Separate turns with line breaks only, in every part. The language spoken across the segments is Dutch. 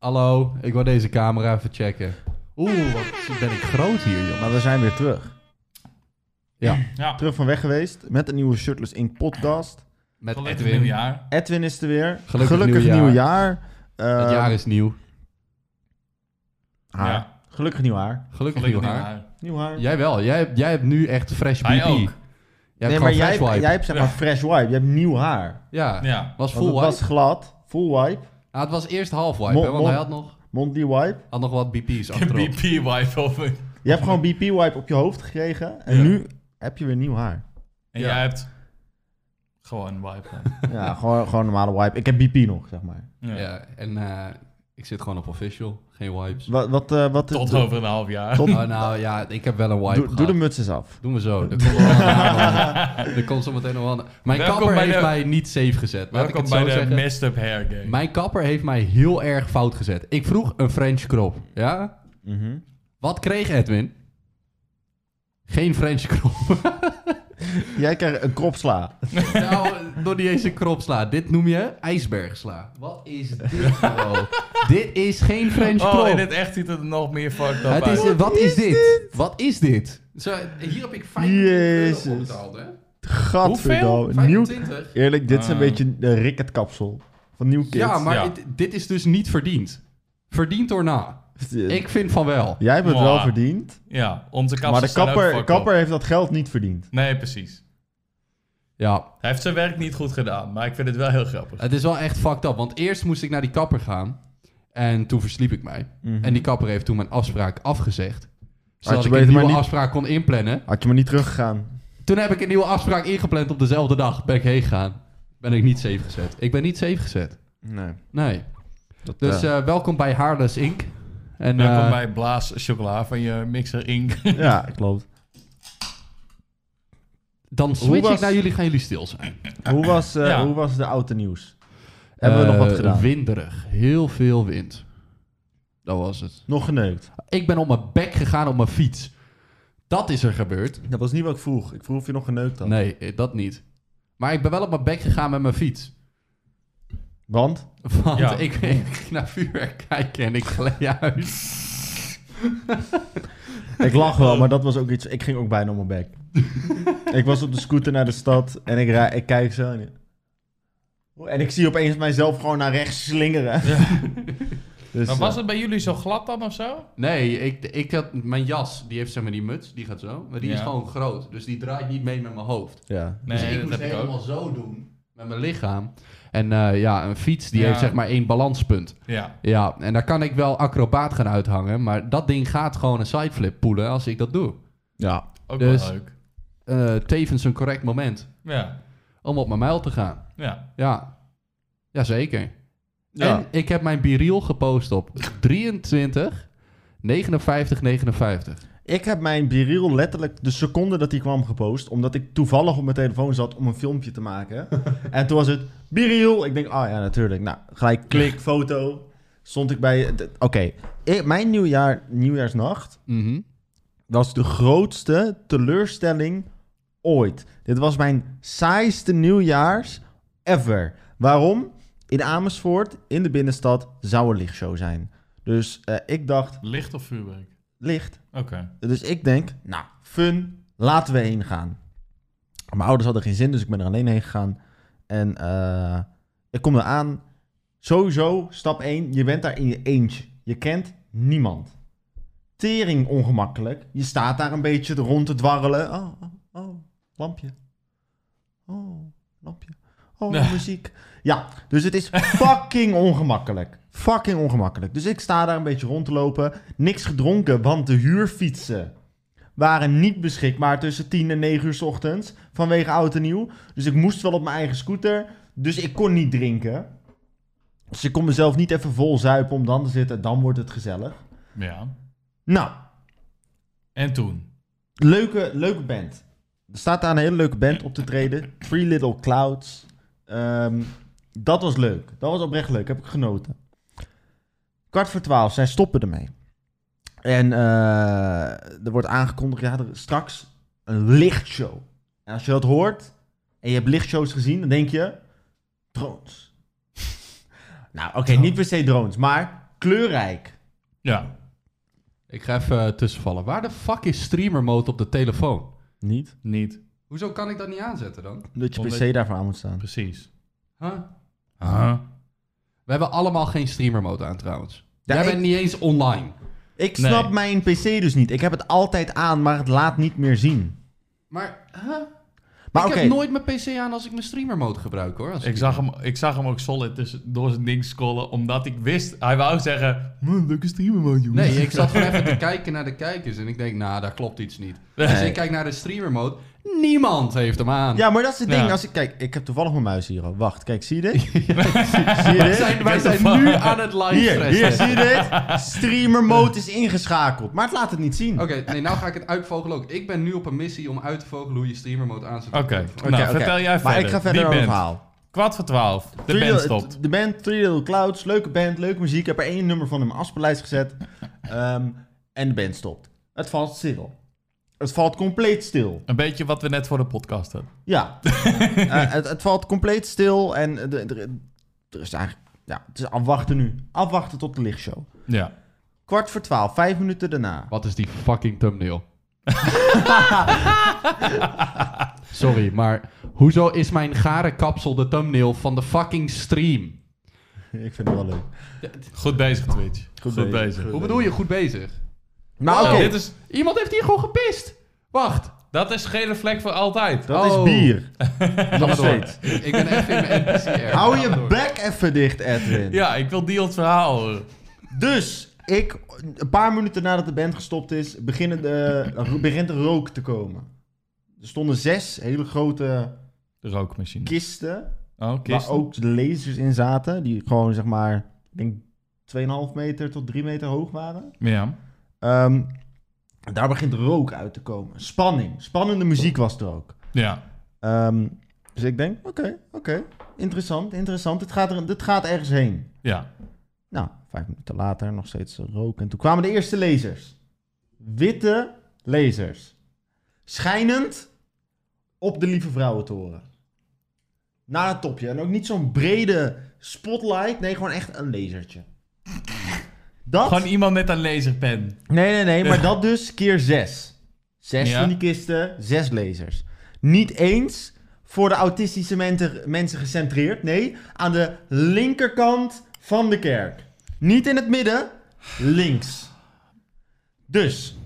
Hallo, ik wil deze camera even checken. Oeh, wat ben ik groot hier, jongen.
Maar we zijn weer terug.
Ja,
Terug van weg geweest met een nieuwe Shirtless Inc. podcast.
Met
gelukkig
Edwin.
nieuwjaar.
Edwin is er weer.
Gelukkig nieuwjaar.
nieuwjaar. Eh,
Het jaar is nieuw.
haar.
Ja,
Gelukkig nieuwjaar.
Gelukkig,
gelukkig
nieuw haar.
nieuwjaar.
Nieuw haar.
Jij wel. Jij, hebt- jij hebt nu echt fresh
Hij
BB. Jij
ook.
nee,
hebt
maar
gewoon
jij,
fresh wipe.
jij hebt zeg maar fresh wipe. Je hebt nieuw haar.
Ja.
Ja,
was
Want
full
het
wipe.
was glad. Full wipe.
Ah, het was eerst half wipe,
Mo-
hè, want
mo-
hij had nog,
Monty wipe.
had nog wat BP's
een
achterop.
BP-wipe over. En
Je hebt gewoon BP wipe op je hoofd gekregen. En
Ja.
nu heb je weer nieuw haar.
Ja.
jij hebt gewoon wipe.
Ja, gewoon, gewoon normale wipe. Ik heb BP nog, zeg maar.
Ja.
Ja, en eh, ik zit gewoon op official. Geen wipes.
Wat, wat, eh, wat is...
Tot
doe,
over een half jaar.
tot-
Oh, nou ja, ik heb wel een wipe
doe-
gehad.
doe de muts eens af.
Doen we zo. Er komt, wel een aan, hoor. er komt zo meteen nog wel een- Mijn
Welkom
kapper
bij
heeft
de-
mij niet safe gezet. Laat ik
Welkom
het
bij
zo
de
zeggen.
messed up hair game.
Mijn kapper heeft mij heel erg fout gezet. Ik vroeg een French crop. Ja?
Mhm.
Wat kreeg Edwin? Geen French crop.
Jij krijgt een kropsla.
nou, nog niet eens een crop sla. Dit noem je ijsbergsla. Wat is dit nou? dit is geen French crop.
oh, in het echt ziet het er nog meer fucked up
het
uit.
is, wat, is dit? Wat is dit? Zo, hier heb ik 25 euro
Jezus.
betaald, hè?
Gadverdamme. Nieuw...
25?
Eerlijk, dit is een
Ah.
beetje de ricketkapsel van Nieuw Kids.
Ja, maar
Ja.
het- dit is dus niet verdiend. Verdiend door na. Ik vind van wel.
Dus, eh, Jij hebt het
Mwah.
wel verdiend,
Ja, onze kapper.
maar de kapper, kapper heeft dat geld niet verdiend.
Nee, precies.
Ja,
Hij heeft zijn werk niet goed gedaan, maar ik vind het wel heel grappig.
het is wel echt fucked up. Want eerst moest ik naar die kapper gaan. En toen versliep ik mij. En die kapper heeft toen mijn afspraak afgezegd. Zodat
Mhm. je
ik een
beter
nieuwe
maar niet-
afspraak kon inplannen.
Had je maar niet teruggegaan.
Toen heb ik een nieuwe afspraak ingepland op dezelfde dag. Ben ik heen gegaan. Ben ik niet safe gezet. Ik ben niet safe gezet.
Nee.
Nee.
Dat,
Dus
eh,
eh, welkom bij Haarless Inc. En,
Welkom
eh,
bij Blaas Chocola van je Mixer Inc.
ja, klopt.
Dan
Hoe
switch
was-
ik naar jullie, gaan jullie stil zijn.
Hoe was, eh,
Ja.
hoe was de oude nieuws? Hebben we nog wat
Eh,
gedaan?
Winderig. Heel veel wind. Dat was het.
Nog geneukt.
Ik ben op mijn bek gegaan op mijn fiets. Dat is er gebeurd.
Dat was niet wat ik vroeg. Ik vroeg of je nog geneukt had.
Nee, eh, dat niet. Maar ik ben wel op mijn bek gegaan met mijn fiets.
Want?
Want
Ja.
ik, ik ging naar vuurwerk kijken en ik gleed uit.
Ik lach wel, maar dat was ook iets... Ik ging ook bijna om mijn bek. ik was op de scooter naar de stad en ik, rij, ik kijk zo... En, en ik zie opeens mijzelf gewoon naar rechts slingeren. Dus,
Maar was
eh,
het bij jullie zo glad dan of zo?
Nee, ik, ik had, mijn jas, die heeft zeg maar die muts, die gaat zo. Maar die is
Ja.
gewoon groot, dus die draait niet mee met mijn hoofd.
eh, Ja.
Nee,
dus ik
dat
moest
heb ik ook.
helemaal zo doen met mijn lichaam. En eh, ja, een fiets die
Ja.
heeft zeg maar één balanspunt.
Ja.
Ja, en daar kan ik wel acrobaat gaan uithangen. Maar dat ding gaat gewoon een sideflip poelen als ik dat doe.
Ja.
Ook
Dus-
wel leuk.
Eh, tevens een correct moment
Ja,
om op mijn mijl te gaan.
ja.
Ja, jazeker.
Ja.
En ik heb mijn biriel gepost op 23, 59, 59.
Ik heb mijn Biriel letterlijk de seconde dat die kwam gepost. Omdat ik toevallig op mijn telefoon zat om een filmpje te maken. en toen was het Biriel. Ik denk, ah ja, natuurlijk. Nou, gelijk klik, foto. Stond ik bij... d- Oké, Ik- mijn nieuwjaar, nieuwjaarsnacht
Mhm.
was de grootste teleurstelling ooit. Dit was mijn saaiste nieuwjaars ever. Waarom? In Amersfoort, in de binnenstad, zou een lichtshow zijn. Dus eh, ik dacht,
Licht of vuurwerk?
licht,
Oké.
dus ik denk, nou, fun, laten we heen gaan. Mijn ouders hadden geen zin, dus ik ben er alleen heen gegaan. En eh, ik kom eraan. Sowieso, stap 1, je bent daar in je eentje. Je kent niemand. Tering ongemakkelijk. Je staat daar een beetje rond te dwarrelen. Oh, oh, oh, lampje. Oh, lampje. Oh,
Ja.
muziek. Ja, dus het is fucking ongemakkelijk. Fucking ongemakkelijk. Dus ik sta daar een beetje rond te lopen. Niks gedronken, want de huurfietsen waren niet beschikbaar tussen 10 en 9 uur 's ochtends vanwege oud en nieuw. Dus ik moest wel op mijn eigen scooter. Dus ik kon niet drinken. Dus ik kon mezelf niet even vol zuipen om dan te zitten. Dan wordt het gezellig.
Ja.
Nou,
En toen?
leuke, leuke band. Er staat daar een hele leuke band op te treden. Three Little Clouds. Ehm, dat was leuk. Dat was oprecht leuk. Heb ik genoten. Kwart voor twaalf. Zij stoppen ermee. En eh, er wordt aangekondigd, ja, er is straks een lichtshow. En als je dat hoort en je hebt lichtshows gezien, dan denk je, drones. nou, oké, niet per se drones, maar kleurrijk.
Ja.
Ik ga even eh, tussenvallen. Waar de fuck is streamer mode op de telefoon?
Niet?
Niet.
Hoezo kan ik dat niet aanzetten dan?
Dat je
Omdat
PC daarvoor aan moet staan.
Precies.
Huh?
Huh?
We hebben allemaal geen streamer mode aan trouwens.
Ja,
Jij
ik-
bent niet eens online.
Ik
Nee.
snap mijn PC dus niet. Ik heb het altijd aan, maar het laat niet meer zien.
Maar, huh?
Maar
ik
oké,
heb nooit mijn PC aan als ik mijn streamer mode gebruik hoor. Als
Ik zag, hem, ik zag hem ook solid dus door zijn ding scrollen, omdat ik wist... Hij wou zeggen, man, leuke streamer, man, jongens.
Nee, ik zat gewoon even te kijken naar de kijkers en ik denk, nou, daar klopt iets niet. Dus
Nee.
ik kijk naar de streamer mode. Niemand heeft hem aan.
Ja, maar dat is het ding.
Ja.
Als ik, kijk, ik heb toevallig mijn muis hier al. Wacht, kijk, zie je dit? zie, zie je
wij
dit?
zijn, wij
What the
zijn
fuck?
nu aan het live
Hier,
stressen.
hier, zie je dit? Streamer mode is ingeschakeld, maar het laat het niet zien.
Oké, nee, nou ga ik het uitvogelen ook. Ik ben nu op een missie om uit te vogelen hoe je streamer mode aanzet.
Oké,
Oké,
nou,
oké.
vertel jij verder.
Maar ik ga verder
Die
aan het
band.
verhaal.
Kwart voor twaalf. De
Three
band
Little-
stopt.
De band Three Little Clouds, leuke band, leuke muziek. Ik heb er één nummer van in mijn afspeellijst gezet. Ehm, en de band stopt. Het valt stil. Het valt compleet stil.
Een beetje wat we net voor de podcast hadden.
Ja. Eh, het, het valt compleet stil en eh, er- er er is eigenlijk... Ja, het is afwachten nu. Afwachten tot de lichtshow.
Ja.
Kwart voor twaalf, vijf minuten daarna.
Wat is die fucking thumbnail? Sorry, maar hoezo is mijn gare kapsel de thumbnail van de fucking stream?
Ik vind het wel leuk.
Goed bezig, Twitch. Goed,
bezig.
bezig.
Hoe bedoel je goed bezig?
Maar
Oh,
oké,
dit is,
Iemand heeft hier gewoon gepist. Wacht.
dat is gele vlek voor altijd.
dat
Oh.
is bier.
Nog
steeds.
Ik ben even in mijn NPC. erg.
Hou
Ga
je
door.
bek even dicht, Edwin.
Ja, ik wil Dion's verhaal horen.
Dus ik, een paar minuten nadat de band gestopt is, beginnen de, er begint de rook te komen. Er stonden zes hele grote
De rookmachine.
kisten,
oh, kist.
waar ook lasers in zaten, die gewoon zeg maar, ik denk 2,5 meter tot 3 meter hoog waren.
Ja.
Ehm, daar begint rook uit te komen. Spanning, spannende muziek was er ook.
Ja.
Ehm, dus ik denk, oké, oké, interessant, interessant, dit gaat, er, dit gaat ergens heen.
Ja.
Nou, vijf minuten later nog steeds rook. En toen kwamen de eerste lasers. Witte lasers. Schijnend op de Lieve Vrouwentoren. Naar het topje. En ook niet zo'n brede spotlight. Nee, gewoon echt een lasertje. Dat?
Gewoon iemand met een laserpen.
Nee, nee, nee. Maar dat dus keer zes. Zes
Ja.
van die kisten, zes lasers. Niet eens voor de autistische mensen, mensen gecentreerd. Nee, aan de linkerkant van de kerk. Niet in het midden, links. Dus,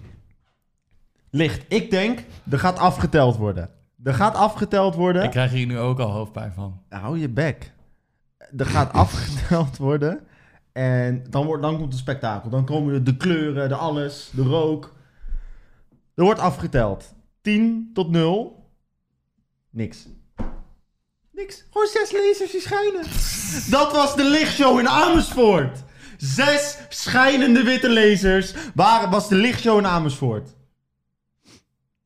licht. Ik denk, er gaat afgeteld worden. Er gaat afgeteld worden.
Ik krijg hier nu ook al hoofdpijn van.
Hou je bek. Er gaat afgeteld worden. En dan, wordt, dan komt het spektakel. Dan komen de, de kleuren, de alles, de rook. Er wordt afgeteld. 10 tot 0. Niks. Niks. Gewoon zes lasers die schijnen. Dat was de lichtshow in Amersfoort. Zes schijnende witte lasers. Waar was de lichtshow in Amersfoort?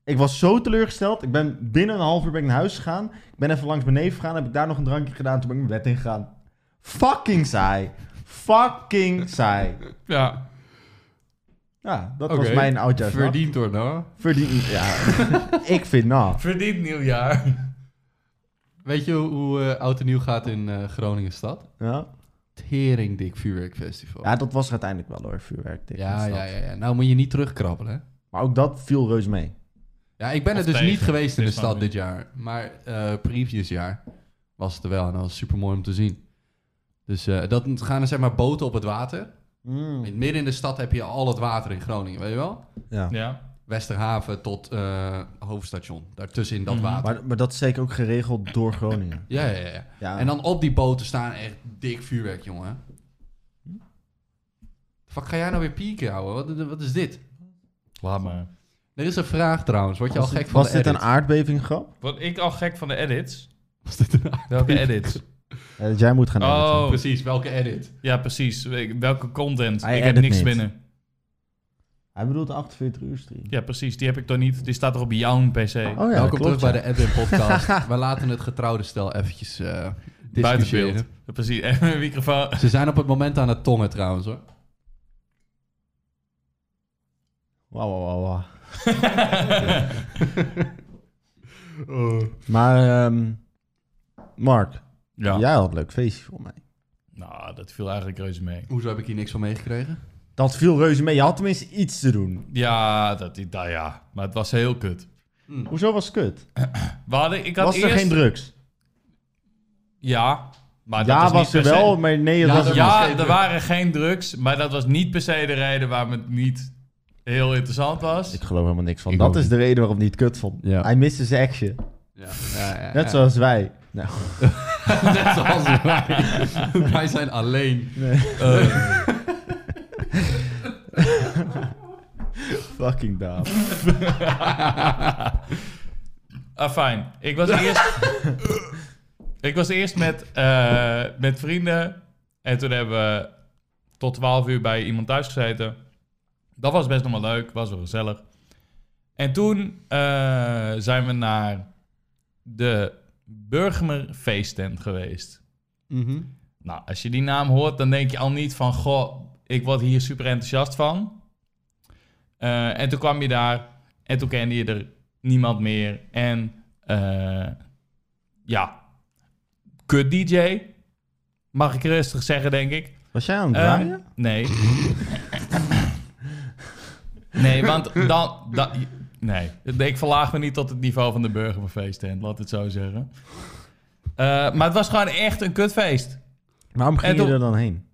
Ik was zo teleurgesteld. Ik ben binnen een half uur ben ik naar huis gegaan. Ik ben even langs mijn neef gegaan. Heb ik daar nog een drankje gedaan. Toen ben ik mijn bed ingegaan. Fucking saai. Fucking saai.
Ja.
Ja, dat was
Oké.
mijn oudjaarsdag.
Verdiend hoor, nou.
Verdien... Ja, ik vind nou.
Verdiend nieuwjaar.
Weet je hoe eh, oud en nieuw gaat in eh, Groningen stad?
Ja.
Teringdik vuurwerkfestival.
ja, dat was er uiteindelijk wel hoor, vuurwerk. tegen de
Ja,
stad.
ja, ja, ja. Nou moet je niet terugkrabbelen. hè.
Maar ook dat viel reuze mee.
Ja, ik ben
Of
er dus
tegen.
niet geweest in de
Dit is
stad
wel
dit jaar. Maar eh previous jaar was het er wel. En dat was super mooi om te zien. Dus eh, dat gaan er zeg maar boten op het water.
Hm. Mm.
In, midden in de stad heb je al het water in Groningen, weet je wel?
Ja.
Ja.
Westerhaven tot eh, hoofdstation. Daartussen in dat
Hm.
Mhm.
water.
Maar, maar dat is zeker ook geregeld door Groningen.
Ja, ja, ja, ja.
Ja.
En dan op die boten staan echt dik vuurwerk, jongen. Hm? Fuck, ga jij nou weer pieken, ouwe? Wat, wat is dit?
Laat maar.
Er is een vraag trouwens. Word je
was
al gek
dit,
van
was
de
dit een
edit?
aardbeving grap?
Word ik al gek van de edits?
Was dit een aard?
Welke edits?
Eh, dat jij moet gaan editen.
Oh,
Precies, welke edit?
ja, precies. Ik- Welke content?
Hij
ik heb
edit
niks
niet.
binnen.
Hij bedoelt de 48 uur stream.
Ja, precies. Die heb ik toch niet. Die staat toch op jouw PC?
Oh ja,
Welkom
klopt,
terug
ja.
bij de Edwin Podcast. We laten het getrouwde stel eventjes eh
Buiten
discussiëren.
beeld. Ja, Precies. En mijn microfoon.
Ze zijn op het moment aan het tongen trouwens hoor.
Wauw, wauw, wauw, wauw. Maar, ehm, Mark,
Ja.
ehm, jij had een leuk feestje voor mij.
Nou, dat viel eigenlijk reuze mee.
Hoezo heb ik hier niks van meegekregen?
Dat viel reuze mee. Je had tenminste iets te doen.
Ja, dat, nou ja, maar het was heel kut.
Hoezo was het kut?
We hadden, ik had
Was er
eerst-
geen drugs?
Ja, maar Ah, dat
ja,
was,
was
niet
er
per se-
wel, maar nee, het
Ja,
was
er
er
was
niet.
Ja,
geen
er
drugs.
waren geen drugs, maar dat was niet per se de reden waarom het niet heel interessant was.
Ik geloof helemaal niks van.
Ik
dat
ook
is
niet.
de reden waarom hij het kut vond.
Ja.
Hij miste zijn action.
Ja, ja, ja,
Net
ja.
zoals wij. Nou,
Net zoals wij. wij zijn alleen.
Eh,
fucking daaf.
ah, fijn. Ik was eerst, ik was eerst met, eh, met vrienden en toen hebben we tot 12 uur bij iemand thuis gezeten. Dat was best nog wel leuk, was wel gezellig. En toen eh, zijn we naar de Burgemer feesttent geweest.
Mhm.
Nou, als je die naam hoort, dan denk je al niet van... Goh, ik word hier super enthousiast van. Eh, en toen kwam je daar en toen kende je er niemand meer. En eh, ja, kut DJ. Mag ik rustig zeggen, denk ik.
Was jij aan het
Eh,
draaien?
nee. nee, want dan... dan nee, ik verlaag me niet tot het niveau van de burgerfeesttent, laat het zo zeggen. Eh, maar het was gewoon echt een kutfeest.
Waarom ging
en
je
toen-
er dan heen?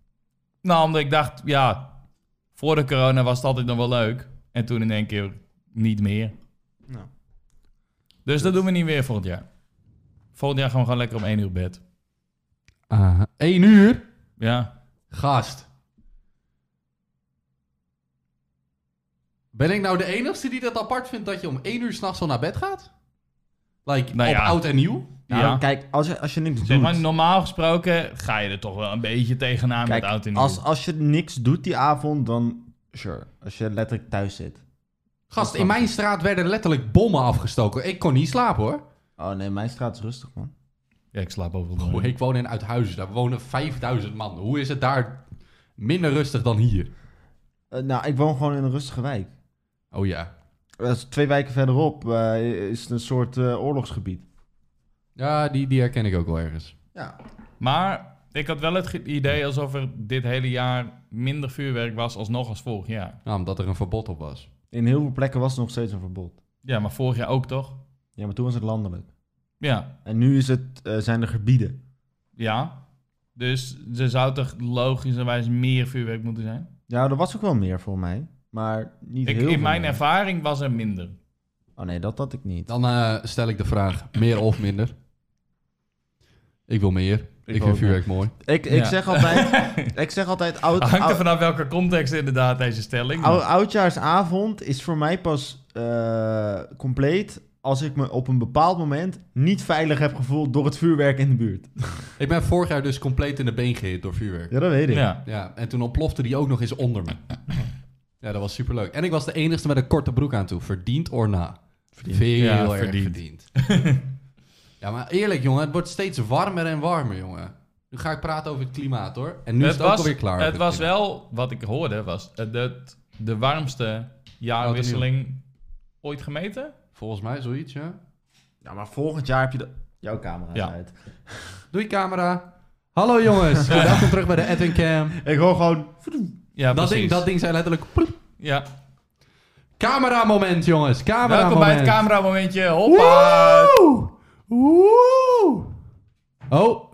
Nou, omdat ik dacht, ja, voor de corona was het altijd nog wel leuk. En toen in één keer niet meer.
Nou.
Dus dat doen we niet weer volgend jaar. Volgend jaar gaan we gewoon lekker om één uur bed.
Eén Ah, uur?
Ja.
Gast. Ben ik nou de enigste die dat apart vindt dat je om één uur s'nachts al naar bed gaat? Like,
Nou
op
ja.
oud en nieuw?
Nou,
ja.
Kijk, als je, als je niks
Zeg
doet...
maar, normaal gesproken ga je er toch wel een beetje tegenaan
Kijk,
met oud en nieuw.
als, als je niks doet die avond, dan... Sure. Als je letterlijk thuis zit.
Gast, in mijn straat werden letterlijk bommen afgestoken. Ik kon niet slapen hoor.
Oh nee, mijn straat is rustig, man.
Ja, ik slaap overal
Goh,
nooit.
ik woon in Uithuizen, daar wonen 5000 man. Hoe is het daar minder rustig dan hier?
Eh, nou, ik woon gewoon in een rustige wijk.
Oh ja.
Eh, dat is twee wijken verderop eh, is het een soort eh, oorlogsgebied.
Ja, die, die herken ik ook wel ergens.
Ja.
Maar ik had wel het ge- idee alsof er dit hele jaar minder vuurwerk was alsnog als vorig jaar.
Nou, omdat er een verbod op was.
In heel veel plekken was er nog steeds een verbod.
Ja, maar vorig jaar ook toch?
Ja, maar toen was het landelijk.
Ja.
En nu is het, eh, zijn er gebieden.
Ja. Dus er zou toch logischerwijs meer vuurwerk moeten zijn?
Ja, er was ook wel meer voor mij. Maar niet
Ik,
heel
in
veel
mijn
meer.
ervaring was er minder.
Oh nee, dat had ik niet.
Dan eh, stel ik de vraag, meer of minder? Ik wil meer. Ik,
ook,
vind vuurwerk mooi.
Ik, ik,
Ja.
zeg, altijd, ik zeg altijd... Oud,
Hangt er
oud-
vanaf welke context inderdaad deze stelling.
Ou- oudjaarsavond is voor mij pas eh, compleet als ik me op een bepaald moment niet veilig heb gevoeld door het vuurwerk in de buurt.
Ik ben vorig jaar dus compleet in de been gehit door vuurwerk. Ja.
Ja, dat weet ik.
ja.
en toen ontplofte die ook nog eens onder me. Ja, dat was superleuk. En ik was de enigste met een korte broek aan toe. Verdiend or na?
Verdiend.
Veel
Ja,
erg verdiend.
verdiend.
ja, maar eerlijk jongen, het wordt steeds warmer en warmer jongen. Nu ga ik praten over het klimaat hoor. En nu is
het
het ook
was,
alweer klaar.
het
over
was
klimaat.
wel, wat ik hoorde, was eh, dat de warmste jaarwisseling ooit gemeten.
Volgens mij zoiets, ja.
Ja, maar volgend jaar heb je de... jouw camera is
Ja.
uit.
Doei camera. Hallo jongens, welkom terug bij de Edwin Cam.
Ik hoor gewoon...
Ja,
dat,
precies.
ding, dat ding zei letterlijk... ploep.
Ja.
Cameramoment, jongens. Camera
Welkom bij het cameramomentje. Hoppa!
Woe! Woe! Oh.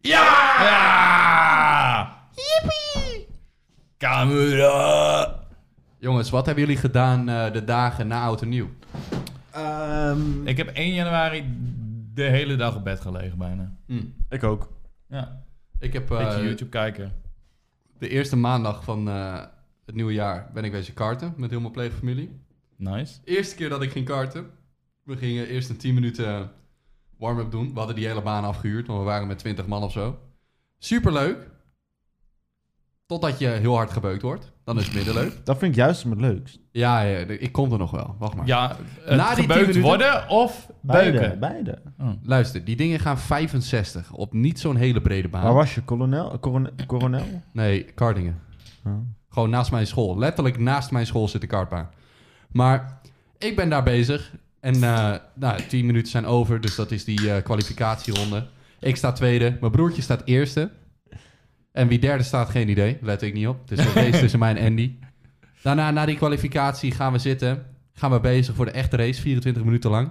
Ja! Yippie! Camera!
Jongens, wat hebben jullie gedaan eh, de dagen na Oud en Nieuw?
ehm, ik...
Ik heb 1 januari de hele dag op bed gelegen bijna.
ook.
Ja,
Ik heb
Hmm. beetje
eh,
YouTube kijken.
de eerste maandag van eh, het nieuwe jaar ben ik wezen karten met heel mijn pleegfamilie.
Nice.
Eerste keer dat ik ging karten. We gingen eerst een 10 minuten warm-up doen. We hadden die hele baan afgehuurd, want we waren met 20 man of zo. Superleuk. Totdat je heel hard gebeukt wordt. Dan is het minder leuk.
Dat vind ik juist het leukst.
Ja, ja, ik kom er nog wel. Wacht maar.
Ja, het
Na die tien
gebeukt
minuten-
worden of
Beide,
beuken.
beide.
Luister, die dingen gaan 65 op niet zo'n hele brede baan.
Waar was je? Kolonel? Coronel? coronel?
Nee, Kardingen.
Oh.
Gewoon naast mijn school. Letterlijk naast mijn school zit de kartbaan. Maar ik ben daar bezig. En eh nou, 10 minuten zijn over, dus dat is die eh, kwalificatieronde. Ik sta tweede, mijn broertje staat eerste. En wie derde staat, geen idee. Let ik niet op. Het is nog steeds tussen mij en Andy. Daarna, na die kwalificatie, gaan we zitten. Gaan we bezig voor de echte race, 24 minuten lang.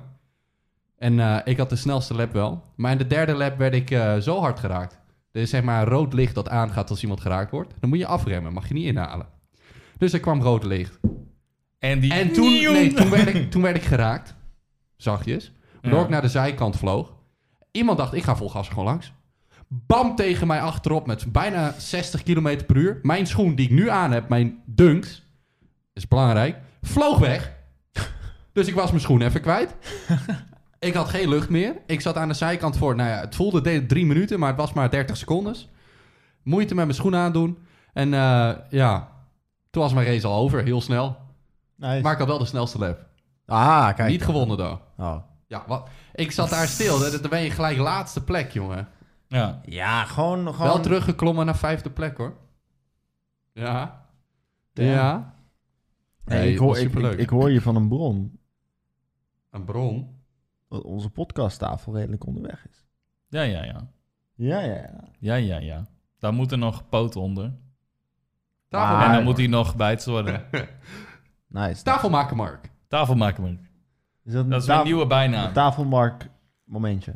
En eh, ik had de snelste lap wel. Maar in de derde lap werd ik eh, zo hard geraakt. Er is zeg maar een rood licht dat aangaat als iemand geraakt wordt. Dan moet je afremmen, mag je niet inhalen. Dus er kwam rood licht.
En die...
En toen, nee, toen, werd ik, toen werd ik geraakt. Zachtjes. Waardoor
Ja.
ik naar de zijkant vloog. Iemand dacht, ik ga vol gas er gewoon langs. Bam tegen mij achterop met bijna 60 km per uur. Mijn schoen die ik nu aan heb, mijn dunks, is belangrijk, vloog weg. Dus ik was mijn schoen even kwijt. Ik had geen lucht meer. Ik zat aan de zijkant voor, nou ja, het voelde deed het drie minuten, maar het was maar 30 seconden. Moeite met mijn schoen aandoen. En eh, ja, toen was mijn race al over, heel snel.
Nice.
Maar ik had wel de snelste lap.
ah, kijk.
Niet gewonnen, though.
Oh.
Ja, wat? Ik zat daar stil. hè. Dan ben je gelijk laatste plek, jongen.
Ja.
Ja, gewoon... gewoon...
Wel teruggeklommen naar vijfde plek, hoor. Ja.
Damn.
Ja.
Nee,
Nee,
ik, hoor,
was
ik,
superleuk.
ik, ik hoor je van een bron
Een bron.
dat onze podcasttafel redelijk onderweg is.
Ja, ja, ja.
Ja, ja, ja.
Ja, ja, ja. Daar moet er nog poot onder.
Tafel,
Ah,
en
ja.
dan moet hij nog bijtst worden.
Nice.
tafel maken, Mark.
Tafel maken we.
Is dat een,
Dat is mijn
taf-
nieuwe
een
bijnaam.
tafelmark momentje?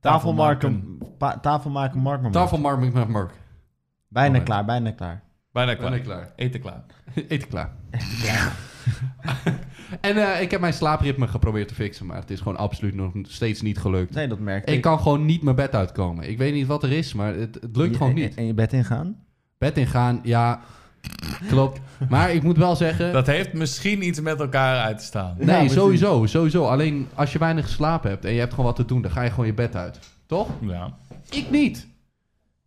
Tafelmarken, pa- tafelmaken mark moment.
Tafel maken met Mark.
bijna
moment.
klaar, bijna klaar.
Bijna
Ben ik
klaar.
klaar.
Eten klaar.
Eten klaar. en eh, ik heb mijn slaapritme geprobeerd te fixen, maar het is gewoon absoluut nog steeds niet gelukt.
Nee, dat merk
Ik kan gewoon niet mijn bed uitkomen. Ik weet niet wat er is, maar het, het lukt
Je-
gewoon niet.
En je bed ingaan?
Bed ingaan, ja, klopt. Maar ik moet wel zeggen,
Dat heeft misschien iets met elkaar uit te staan.
Ja,
Nee,
precies.
sowieso, sowieso. Alleen als je weinig geslapen hebt en je hebt gewoon wat te doen, dan ga je gewoon je bed uit. Toch?
Ja.
Ik niet.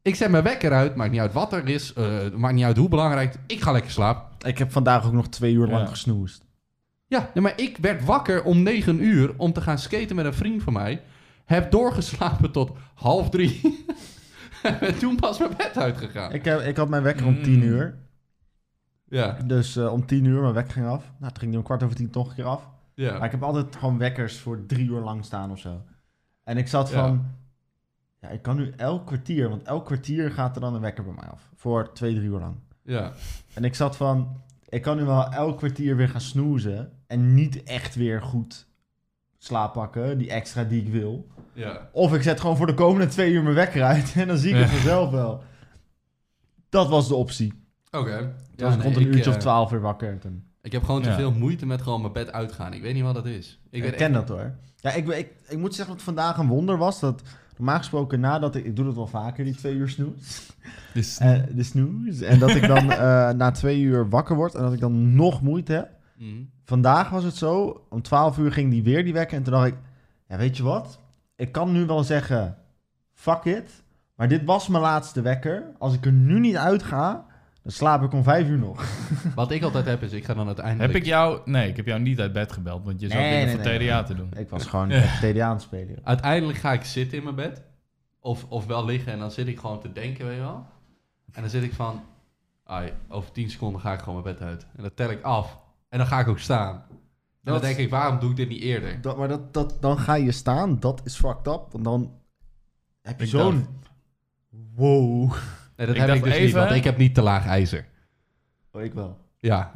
Ik zet mijn wekker uit, maakt niet uit wat er is, eh, maakt niet uit hoe belangrijk. Ik ga lekker slapen.
Ik heb vandaag ook nog twee uur lang
Ja.
gesnoest.
Ja, nee, maar ik werd wakker om 9 uur om te gaan skaten met een vriend van mij. Heb doorgeslapen tot half drie. en ben toen pas mijn bed uitgegaan.
Ik, heb, ik had mijn wekker om tien
Mm.
uur.
Ja,
Dus eh, om tien uur, mijn wekker ging af. Nou, toen ging die om kwart over tien toch een keer af. Maar
ja.
ik heb altijd gewoon wekkers voor drie uur lang staan of zo. En ik zat
Ja.
van... Ja, ik kan nu elk kwartier, want elk kwartier gaat er dan een wekker bij mij af. Voor twee, drie uur lang.
ja.
En ik zat van, ik kan nu wel elk kwartier weer gaan snoezen en niet echt weer goed slaap pakken, die extra die ik wil.
ja.
Of ik zet gewoon voor de komende twee uur mijn wekker uit en dan zie ik het
Ja.
vanzelf wel. Dat was de optie. Toen
Oké. Ja,
was ik
nee,
rond een uurtje
eh,
of twaalf weer wakker. en Toen.
Ik heb gewoon te
Ja.
veel moeite met gewoon mijn bed uitgaan. Ik weet niet wat dat is.
Ik,
weet
ken dat hoor. Ja, ik, ik, ik moet zeggen dat vandaag een wonder was. Dat normaal gesproken nadat ik... Ik doe dat wel vaker, die twee uur snoes.
Dus
Eh, de snoes. En dat ik dan eh, na twee uur wakker word en dat ik dan nog moeite heb.
Mhm.
Vandaag was het zo, om 12 uur ging die weer die wekken. En toen dacht ik, ja, weet je wat? Ik kan nu wel zeggen, fuck it. Maar dit was mijn laatste wekker. Als ik er nu niet uit ga, dan slaap ik om 5 uur nog.
Wat ik altijd heb is, ik ga dan uiteindelijk...
heb ik jou... Nee, ik heb jou niet uit bed gebeld, want je zou
Nee,
dingen
nee,
voor
nee,
TDA
nee.
te doen.
Ik was gewoon
Ja.
TDA aan het spelen.
Uiteindelijk ga ik zitten in mijn bed. Of, of wel liggen en dan zit ik gewoon te denken, weet je wel. En dan zit ik van... Ai, over 10 seconden ga ik gewoon mijn bed uit. En dat tel ik af. En dan ga ik ook staan. En dan
Dat-
denk ik, waarom doe ik dit niet eerder?
Dat, maar dat, dat, dan ga je staan, dat is fucked up. Want dan heb je
Ik
zo'n...
dacht-
Wow.
Nee, dat
Ik
heb
dacht
ik dus niet,
even-
want ik heb niet te laag ijzer.
Oh, ik wel.
Ja.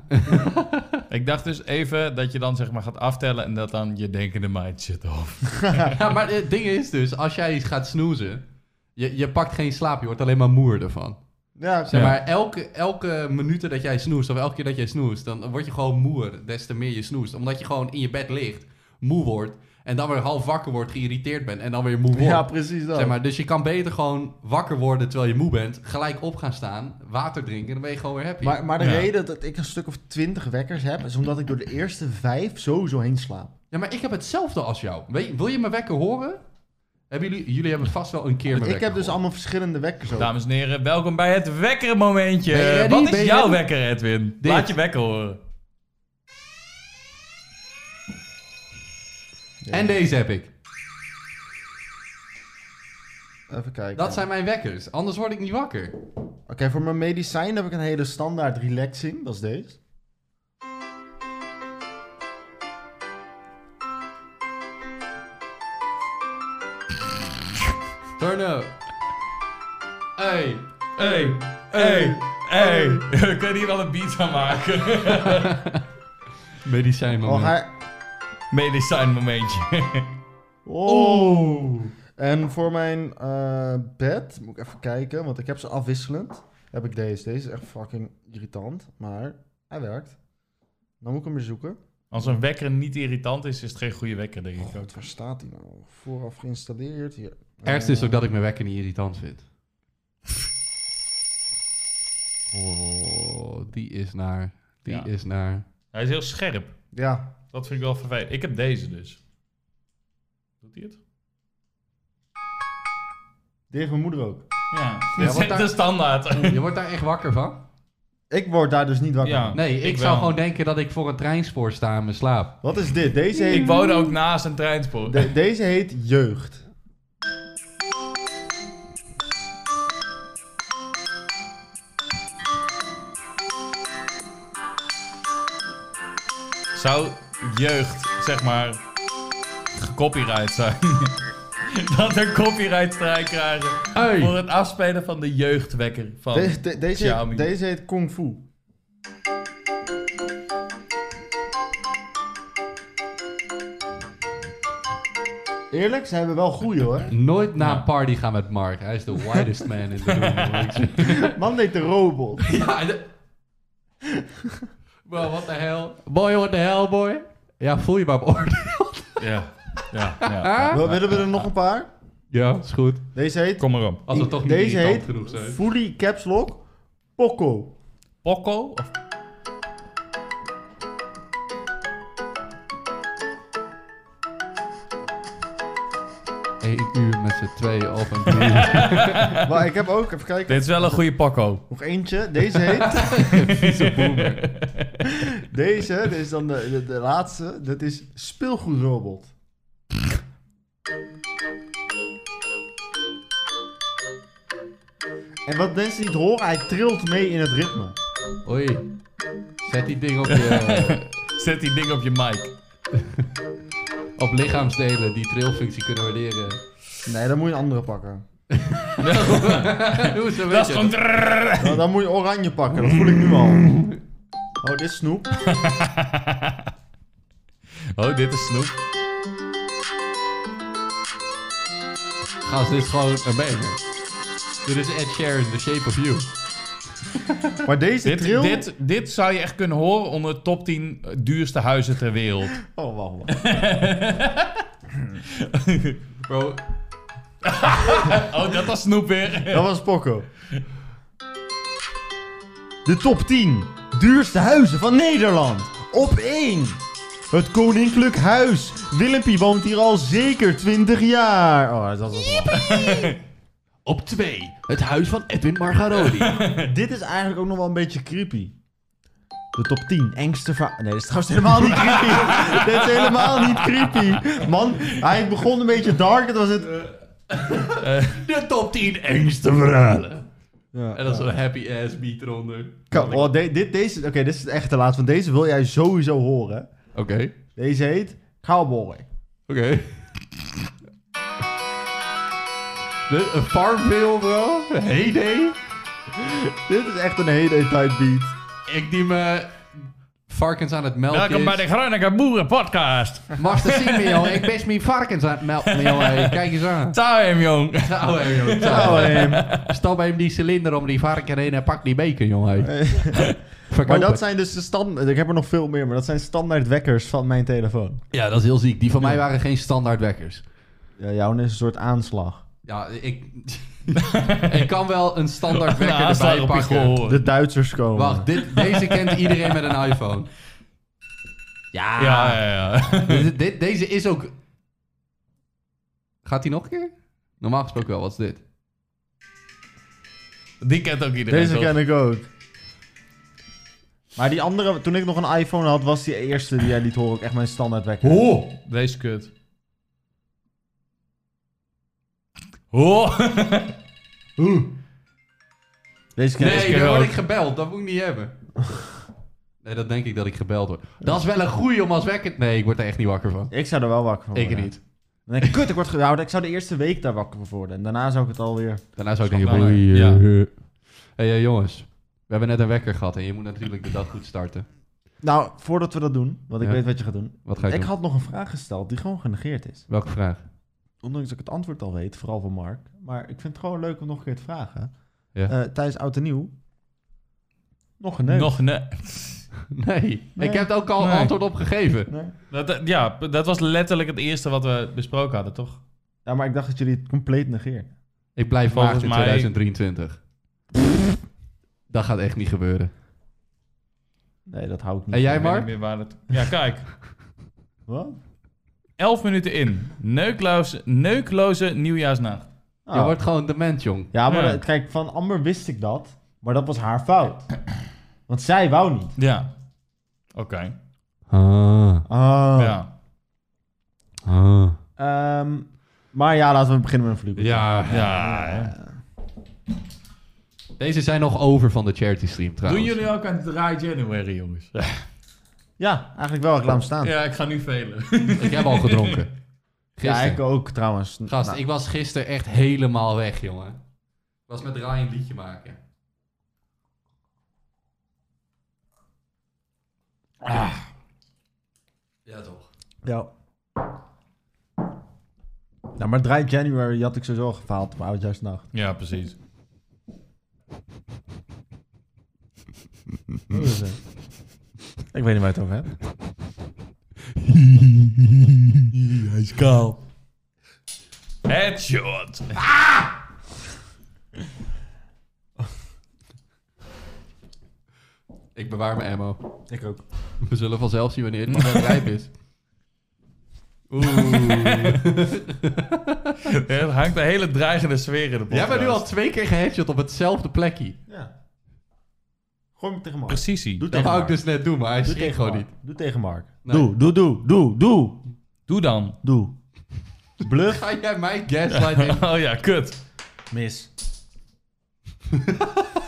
Ik dacht dus even dat je dan zeg maar gaat aftellen en dat dan je denkende mind shit off.
ja, maar het ding is dus, als jij gaat snoezen... Je, je pakt geen slaap, je wordt alleen maar moer ervan.
Ja,
Zeg
Ja.
maar, elke, elke minuut dat jij snoest, of elke keer dat jij snoest, dan word je gewoon moer, des te meer je snoest. Omdat je gewoon in je bed ligt, moe wordt, en dan weer half wakker wordt, geïrriteerd bent, en dan weer moe wordt.
ja precies dat.
zeg maar, dus je kan beter gewoon wakker worden terwijl je moe bent, gelijk op gaan staan, water drinken, en dan ben je gewoon weer happy.
Maar, maar de
Ja.
reden dat ik een stuk of twintig wekkers heb, is omdat ik door de eerste vijf sowieso heen slaap.
Ja, maar ik heb hetzelfde als jou. Weet, je- wil je mijn wekker horen? Hebben jullie, jullie hebben vast wel een keer mijn
Want ik
wekker
heb dus
gehoord.
allemaal verschillende wekkers ook.
Dames en heren, welkom bij het wekkermomentje.
Ben je ready?
Wat
Ben
is
je
jouw
ready?
wekker, Edwin?
Dit.
Laat je wekker horen.
allemaal-
En deze heb ik.
Even kijken.
Dat zijn mijn wekkers, anders word ik niet wakker.
Oké, voor mijn medicijn heb ik een hele standaard relaxing. Dat is deze.
Turn up. Hey.
hey, hey, hey. We kunnen hier wel een beat aan maken.
Medicijn
Oh,
moment.
ga...
Medicijn momentje.
oh. En voor mijn eh, bed, moet ik even kijken, want ik heb ze afwisselend. Heb ik deze. Deze is echt fucking irritant, maar hij werkt. Dan moet ik hem weer zoeken.
Als een wekker niet irritant is, is het geen goede wekker, denk ik ook.
God, waar staat hij nou? Vooraf geïnstalleerd. Hier. Eh,
Het ergste is ook dat ik mijn wekker niet irritant vind. Oh, die is naar. Die
Ja.
is naar.
Hij is heel scherp.
Ja.
Dat vind ik wel vervelend. Ik heb deze dus. Doet hij het?
Die heeft mijn moeder ook.
Ja.
want
Dat is echt
daar-
de standaard.
Je wordt daar echt wakker van?
Ik word daar dus niet wakker
Ja.
van.
Nee, ik,
Ik
zou
wel.
gewoon denken dat ik voor een treinspoor sta in mijn slaap.
Wat is dit? Deze
Ik
heet,
woon ook naast een treinspoor.
de- deze heet jeugd.
Zou jeugd, zeg maar, gecopyright zijn? dat we een copyright strijk krijgen voor
Hey!
het afspelen van de jeugdwekker van
Oh.
De- de- deze,
Xiaomi.
heet, deze heet Kung Fu. Eerlijk, ze hebben wel goeie hoor.
Nooit na
Ja.
een party gaan met Mark. Hij is de widest man in de room.
Man deed de robot.
ja, de... Bro, what the hell? Boy, what the hell, boy? Ja, voel je maar beoordeeld.
Ja, ja, ja.
Wil- Willen we er nog een paar?
Ja, is goed.
Deze heet
Kom maar op.
Als we toch niet
Deze
irritant
heet-
genoeg zijn.
Fully Caps Lock Poco.
Poco? Of...
Eén uur met z'n tweeën op een bier.
Maar ik heb ook, even kijken,
Dit is wel een goede Poco.
nog eentje. Deze heet,
Vieze boomer.
deze, dit is dan de, de, de laatste. Dat is speelgoedrobot. En wat mensen niet horen, hij trilt mee in het ritme.
Oei. Zet die ding op je...
Zet die ding op je mic.
op lichaamsdelen die trailfunctie kunnen waarderen.
Nee, dan moet je een andere pakken.
Doe ze een
Dat is gewoon...
beetje.
Dan, Nou, dan moet je oranje pakken, dat voel ik nu al. Oh, dit is snoep.
Oh, dit is Snoep.
Gast, dit is gewoon een banger. Dit is Ed Sheeran, The Shape of You.
Maar deze
Dit,
trill...
dit, dit zou je echt kunnen horen onder de top 10 duurste huizen ter wereld.
Oh, wacht, wacht.
Bro,
Oh, dat was Snoep weer.
Dat was Poco. De top 10 duurste huizen van Nederland. Op 1. Het Koninklijk Huis. Willempie woont hier al zeker 20 jaar. Oh, dat was
op twee. Het huis van Edwin Margaroli.
Dit is eigenlijk ook nog wel een beetje creepy. De top 10 engste verha- Nee, dit is trouwens helemaal niet creepy. dit is helemaal niet creepy. Man, hij begon een beetje dark. Het was het...
De top 10 engste verhalen.
Ja,
En dan zo'n happy ass beat eronder.
Kom, oh, de- dit, deze... Oké, dit is echt te laat. Want deze wil jij sowieso horen.
Oké,
Deze heet Cowboy.
oké. De- Een Farmville, bro. Heyday.
Dit is echt een hele tijd beat.
Ik die me varkens aan het melken
Welkom bij
is.
de Groninger Boeren Podcast.
Master zien me, joh. Ik best mijn varkens aan het melken, joh. Hey, Kijk eens aan.
Touw hem, jong.
Touw hem, joh. Touw
Nou,
hem.
ehm,
Stap hem die cilinder om die varken heen en pak die beker, jongen. Hey.
maar
Verkopen.
dat zijn dus de standaard... Ik heb er nog veel meer, maar dat zijn standaard wekkers van mijn telefoon.
Ja, dat is heel ziek. Die van mij waren geen standaard wekkers.
Ja, jouw is een soort aanslag.
Ja, ik... ik kan wel een standaard
Een
wekker
aanslag
erbij
op je
pakken.
gehoor.
De Duitsers komen.
Wacht, dit, deze kent iedereen met een iPhone. Ja.
Ja, ja, ja.
Dit, dit- deze is ook... Gaat die nog een keer? Normaal gesproken wel. Wat is dit?
Die kent ook iedereen,
Deze
toch?
ken ik ook. Maar die andere, toen ik nog een iPhone had, was die eerste die jij liet horen ook echt mijn standaard wekker.
Oh. Deze kut. Oh.
Deze ken ik.
Nee,
ik
dan
ook.
word ik gebeld. Dat moet ik niet hebben. Nee, dat denk ik dat ik gebeld word. Dat is wel een goeie om als wekker... Nee, ik word er echt niet wakker van.
Ik zou er wel wakker van
Ik
worden.
niet.
Dan denk ik, kut, ik word gehouden. Ik zou de eerste week daar wakker van worden. En daarna zou ik het alweer...
Daarna zou ik
Schandalig.
denken... oei, eh,
Ja.
eh. hey, eh, jongens, we hebben net een wekker gehad en je moet natuurlijk de dag goed starten.
Nou, voordat we dat doen, want ik
Ja.
weet wat je gaat doen.
Wat ga je
ik
doen?
had nog een vraag gesteld die gewoon genegeerd is.
Welke vraag?
Ondanks dat ik het antwoord al weet, vooral van Mark. Maar ik vind het gewoon leuk om nog een keer te vragen.
Ja.
Eh, tijdens Oud en Nieuw. Nog een neuk.
Nog nee.
Nee,
Nee.
ik heb het ook al
Nee.
antwoord op gegeven.
Nee?
Dat, dat- ja, p- dat was letterlijk het eerste wat we besproken hadden, toch?
Ja, maar ik dacht dat jullie het compleet negeerden.
Ik blijf
Volgens
maagd in
mij-
2023. Dat gaat echt niet gebeuren.
Nee, dat hou ik niet.
En jij,
Ik weet niet
Mark?
meer waar het... Ja, kijk.
Wat?
Elf minuten in. Neukloze, neukloze nieuwjaarsnacht.
Oh.
Je wordt gewoon dement, jong.
Ja, maar
Ja.
dat- kijk, van Amber wist ik dat. Maar dat was haar fout. Want zij wou niet.
Ja. Oké.
Ah,
Ah.
Ja.
ah.
Ehm, maar ja, laten we beginnen met een vlieg.
Ja.
Ja. hè.
Deze zijn nog over van de charity stream
Doen
trouwens.
jullie ook aan Dry January, jongens?
Ja, eigenlijk wel. Ik laat hem staan. Ja,
Ja, ik ga nu velen.
Ik heb al gedronken. Gisteren.
ik ook trouwens.
Gast,
Nou,
ik was gisteren echt helemaal weg, jongen. Ik was met Ryan een liedje maken.
Ah.
Ja, toch.
Ja. Nou, maar 3 January had ik sowieso al gefaald op Oudjaarsnacht.
Ja, precies.
Dat is het. ik weet niet waar je het over hebt.
Hij is kaal. Headshot.
Ik bewaar mijn ammo.
Ik ook.
We zullen vanzelf zien wanneer het nog wel rijp is. Oeh.
Er hangt een hele dreigende sfeer in de podcast.
Jij bent nu al twee keer geheadshot op hetzelfde plekje.
Ja. Gooi hem tegen Mark.
Precisie.
Doe
Dat
tegen
wou ik
Mark.
dus net doen, maar hij
Doe
schrik
tegen
gewoon
Mark.
niet.
Doe tegen Mark.
Nee.
Doe, doe, doe, doe, doe,
Doe dan.
doe. Bluff.
Ga jij mij gaslighten in?
Oh ja, kut.
Mis.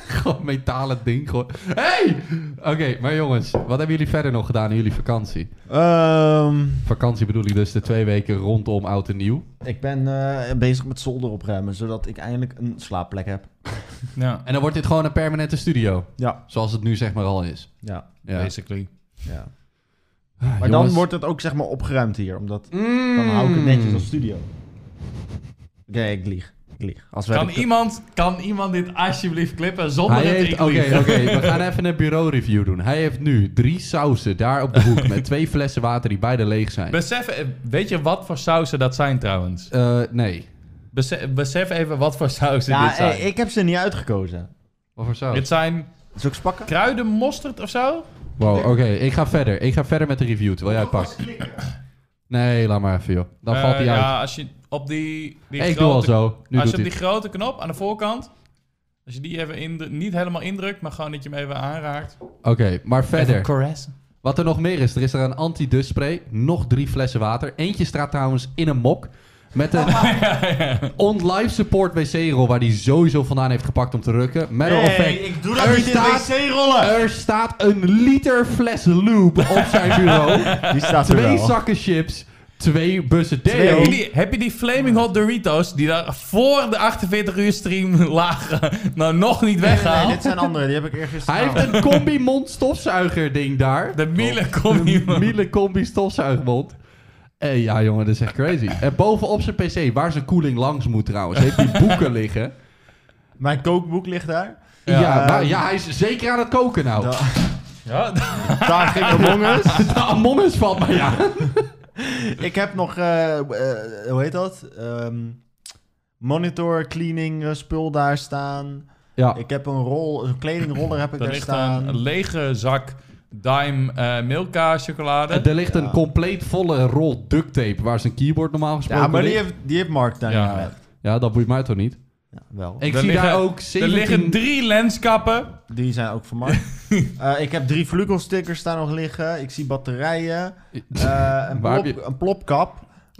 Gewoon metalen ding. Gewoon. Hey! Oké, maar jongens, wat hebben jullie verder nog gedaan in jullie vakantie?
Ehm,
Vakantie bedoel ik dus de twee weken rondom oud en nieuw.
ik ben eh, bezig met zolder opruimen, zodat ik eindelijk een slaapplek heb.
Ja,
En dan wordt dit gewoon een permanente studio.
Ja.
Zoals het nu zeg maar al is.
Ja.
Ja.
basically.
ja.
Ah,
Maar
jongens.
dan wordt het ook zeg maar opgeruimd hier, omdat
Mm.
dan hou ik het netjes als studio. Oké, ik lieg. Ik lieg. Als we
Kan iemand, kan iemand dit alsjeblieft klippen zonder
Hij
dat
heeft...
ik
Oké,
lieg?
oké. we gaan even een bureau review doen. Hij heeft nu drie sauzen daar op de hoek met twee flessen water die beide leeg zijn.
Besef, eh, weet je wat voor sausen dat zijn trouwens?
Eh, nee.
Besef, besef even wat voor sausen
Ja,
dit zijn.
eh, ik heb ze niet uitgekozen.
Wat voor saus?
Dit zijn
Is ook spakken?
kruidenmosterd of zo?
Wow, oké. Ik ga verder. Ik ga verder met de review terwijl jij pakt. Nee, laat maar even joh. Dan
Eh,
valt hij uit.
Ja, als je op die, die
Hey, ik doe
grote
al zo. Nu doet
als je op
hij.
die grote knop aan de voorkant, als je die even indru- niet helemaal indrukt, maar gewoon dat je hem even aanraakt.
Oké, maar verder.
Caress.
Wat er nog meer is, er is er een anti-dust spray, nog drie flessen water. Eentje staat trouwens in een mok met een on-life support wc-rol waar hij sowieso vandaan heeft gepakt om te rukken. Matter of fact,
ik doe
dat Er niet in staat-
wc-rollen.
er staat een liter fles lube op zijn bureau,
Die staat er
twee
wel.
zakken chips, twee bussen
Twee.
deo.
Heb je, die, heb je die Flaming Hot Doritos die daar voor de 48 uur stream lagen, nou nog niet
Nee, nee, nee,
weggehaald?
dit zijn andere. Die heb ik eerst
Hij heeft een combi mond stofzuiger ding daar.
De Miele kom hier,
Een
man.
Miele combi stofzuigmond. Eh, ja, jongen, dat is echt crazy. En bovenop zijn pc, waar zijn koeling langs moet trouwens, heeft hij boeken liggen.
Mijn kookboek ligt daar.
Ja,
Ja,
maar,
ehm,
ja, hij is zeker aan het koken nou.
Da-
Ja,
daar ging Among Us.
De Among Us valt mij aan.
Ik heb nog, eh, eh, hoe heet dat? Ehm, monitor cleaning eh, spul daar staan.
Ja,
Ik heb een rol, een kledingroller heb ik
daar
daar
ligt een,
staan.
een lege zak Dime eh Milka chocolade.
Eh, er ligt een compleet volle rol duct tape waar zijn keyboard normaal gesproken
Ja, maar die
ligt.
heeft, die heeft Mark daar
Ja.
niet gelegd.
Ja, dat boeit mij toch niet.
Ja, wel.
Ik
Er
zie
liggen-
daar ook
Er
17...
liggen drie lenskappen.
Die zijn ook van Mark. Eh, ik heb drie flugelstickers daar nog liggen. Ik zie batterijen. eh, een,
Waar heb
plop,
je-
een plopkap.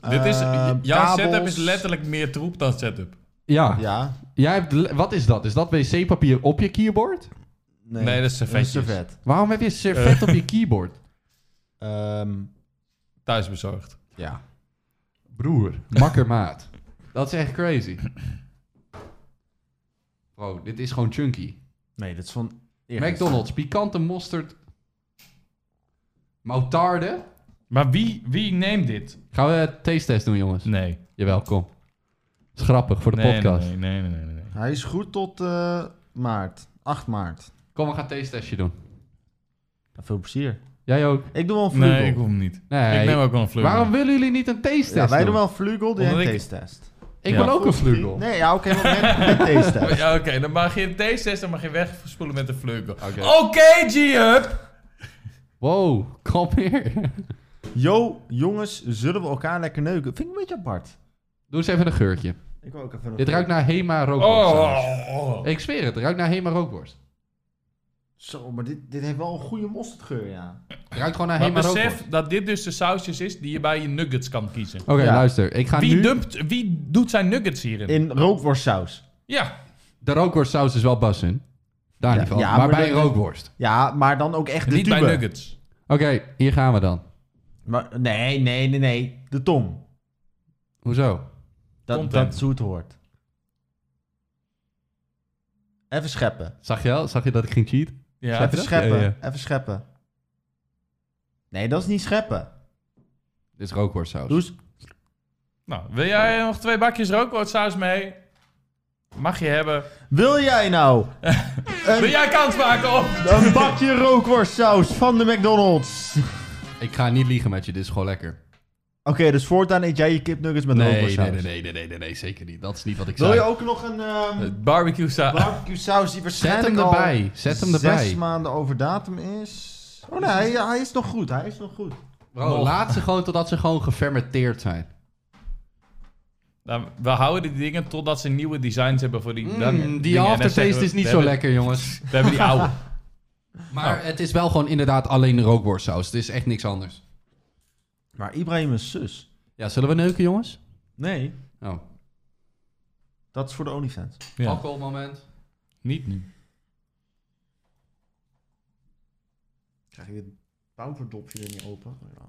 Dit is,
eh,
jouw
kabels.
setup is letterlijk meer troep dan setup.
Ja,
Ja,
jij hebt... le- Wat is dat? Is dat wc-papier op je keyboard?
nee,
Nee, dat is
dat is
servetjes.
servet.
Waarom heb je servet op je keyboard?
Ehm,
Thuisbezorgd.
ja.
Broer, makkermaat. dat is echt crazy. Bro, dit is gewoon chunky.
Nee, dat is van...
McDonald's, pikante mosterd, moutarde.
Maar wie, wie neemt dit?
Gaan we een taste test doen, jongens?
Nee.
Jawel, kom. is grappig voor de
nee,
podcast.
Nee, nee, nee, nee. nee, nee.
Hij is goed tot eh, maart. 8 maart.
Kom, we gaan een taste testje doen.
Nou, veel plezier.
Jij ook?
Ik doe wel een vlugel.
Nee, ik hoef hem niet.
Nee.
Ik neem ook wel een vleugel.
Waarom willen jullie niet een taste test
ja, wij
doen?
doen wel een vlugel, die
Omdat
een
ik-
taste test.
Ik
Ja.
wil ook een vlugel.
Nee, ja, oké, maar met, met taste test.
Ja, oké, dan mag je deze test, dan mag je wegspoelen met de vleugel. Oké,
Oké.
G-Up!
Wow, kom hier.
Yo, jongens, zullen we elkaar lekker neuken? Vind ik een beetje apart.
Doe eens even een geurtje.
Ik wil ook even een
Dit ruikt naar Hema rookworst. trouwens.
Oh.
Ik zweer het, het ruikt naar Hema rookworst.
Zo, maar dit, dit heeft wel een goede mosterdgeur, ja.
Het ruikt gewoon naar
Maar
Hema
besef
rookworst.
dat dit dus de sausjes is die je bij je nuggets kan kiezen.
Oké,
Ja.
luister. Ik ga
Wie,
Oh, nu...
dumpt, wie doet zijn nuggets hierin?
In rookworstsaus.
Ja,
De rookworstsaus is wel bas in. Daar
Ja,
niet van.
ja,
maar,
maar
bij
dat-
rookworst.
Ja, maar dan ook echt de
niet bij
tube.
nuggets.
Oké, hier gaan we dan.
Maar, nee, nee, nee, nee. De tong.
Hoezo?
Dat,
Content.
dat is hoe het hoort. Even scheppen.
Zag je, al? Zag je dat ik ging cheat? Heb
Ja,
je
even
dat?
scheppen.
Ja, ja.
Even scheppen. Nee, dat is niet scheppen.
Dit is rookworstsaus.
Doe eens-
Nou, wil jij nog twee bakjes rookworstsaus mee? Mag je hebben.
Wil jij nou
Wil jij kans maken op?
een bakje rookworstsaus van de McDonald's?
Ik ga niet liegen met je, dit is gewoon lekker.
Oké, dus voortaan eet jij je kipnuggets met
Nee, nee,
rookworstsaus.
nee, nee, nee, nee, nee, nee, zeker niet. Dat is niet wat ik Eh,
Wil
zei.
je ook nog een ehm,
Barbecue saus.
barbecue saus die
Zet
waarschijnlijk
hem
al
erbij. Zet hem
zes
erbij.
maanden over datum is? Oh nee, hij, hij is nog goed. Hij is nog goed.
Bro, laat ze gewoon totdat ze gewoon gefermenteerd zijn.
Nou, we houden die dingen totdat ze nieuwe designs hebben voor die. dan-
Mm, die
dingen. En dan zeggen
aftertaste
we,
is niet
we
zo
hebben-
lekker, jongens.
We hebben die oude.
Maar het is wel gewoon inderdaad alleen rookworstsaus. Het is echt niks anders.
Maar Ibrahim is zus.
Ja, zullen we neuken, jongens?
Nee.
Oh,
Dat is voor de OnlyFans.
Ja.
alcoholmoment.
Niet nu.
Krijg je het pouderdopje er niet open? Oh,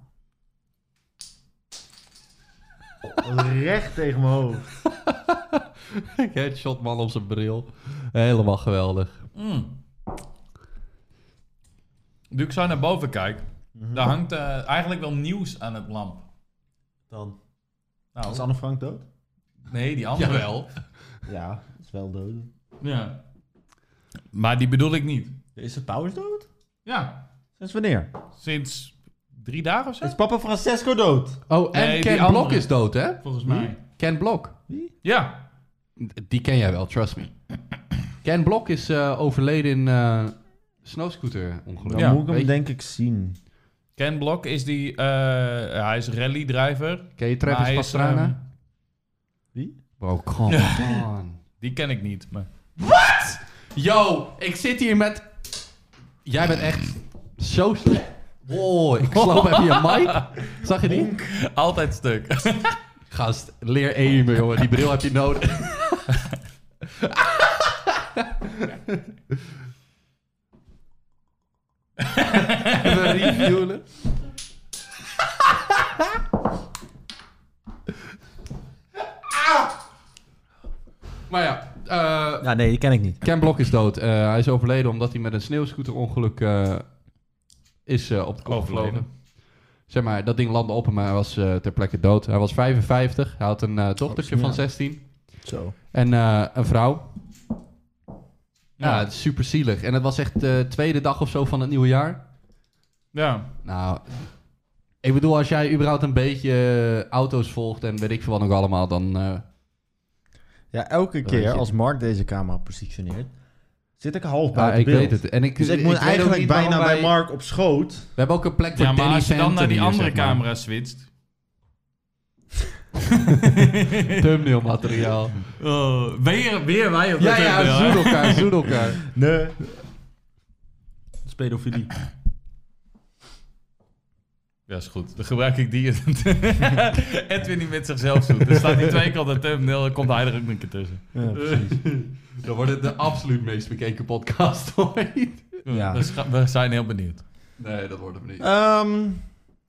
Recht tegen mijn hoofd.
Headshot man op zijn bril. Helemaal geweldig.
Mm. Nu ik zo naar boven kijk,
Mhm.
daar hangt eh, eigenlijk wel nieuws aan het lamp.
Dan.
Nou,
Is Anne Frank dood?
nee, die andere wel.
Ja, is wel dood.
Ja. Maar die bedoel ik niet.
Is het Pauwers dood?
Ja.
Sinds wanneer?
Sinds drie dagen of zo?
Is papa Francesco dood?
Oh, en
Nee, die
Ken
andere.
Blok is dood, hè?
Volgens
Wie?
mij.
Ken Blok.
Ja.
Die ken jij wel, trust me. Ken Blok is eh, overleden in eh snowscooter-ongeluk.
Dan
Ja,
moet ik hem
weet je.
denk ik zien.
Ken Blok is die... eh, hij is rally-driver.
Ken je
maar
Travis
hij is,
Pastrana?
ehm,
Bro, come on.
die ken ik niet, maar...
Yo, ik zit hier met... Jij bent echt zo slecht. Wow, ik slap even je mic. Zag je die?
Altijd stuk.
Gast, leer aimen, jongen. Die bril heb je nodig. Even reviewen. Ah! Maar ja, eh,
Ja, nee, die ken ik niet.
Ken Blok is dood. Eh, hij is overleden omdat hij met een sneeuwscooterongeluk eh, is eh, op de kop
Overleden.
gevlogen. Zeg maar, dat ding landde op hem, maar hij was eh, ter plekke dood. Hij was 55, hij had een eh, dochtertje
Oh,
van
ja.
16
Zo.
en eh, een vrouw. Ja,
Ja.
het is super zielig. En het was echt de tweede dag of zo van het nieuwe jaar.
Ja.
Nou, ik bedoel, als jij überhaupt een beetje eh, auto's volgt en weet ik veel wat nog allemaal, dan... eh,
Ja, elke
weet
keer
je.
als Mark deze camera positioneert, zit ik half
ja,
buiten
ik
beeld.
weet het. En ik,
Dus ik
ik
moet
weet ook
eigenlijk
niet waarom
bijna bij
wij-
Mark op schoot.
We hebben ook een plek voor
ja,
Danny
maar als je dan
Phantom
naar die
hier,
andere
zeg maar.
camera switcht...
thumbnail materiaal.
Oh, weer, weer wij op
Ja,
de
ja,
thumbnail, hè?
zoen elkaar, zoen elkaar.
Nee. Dat is pedofilie.
Ja, is goed. Dan gebruik ik die. Edwin die met zichzelf zoet. Er staat die twee keer op de thumbnail. Dan komt hij er ook een keer tussen.
Ja, precies.
Dan wordt het de absoluut meest bekeken podcast ooit.
Ja.
Dus ga- we zijn heel benieuwd.
Nee, dat wordt hem niet.
Ehm,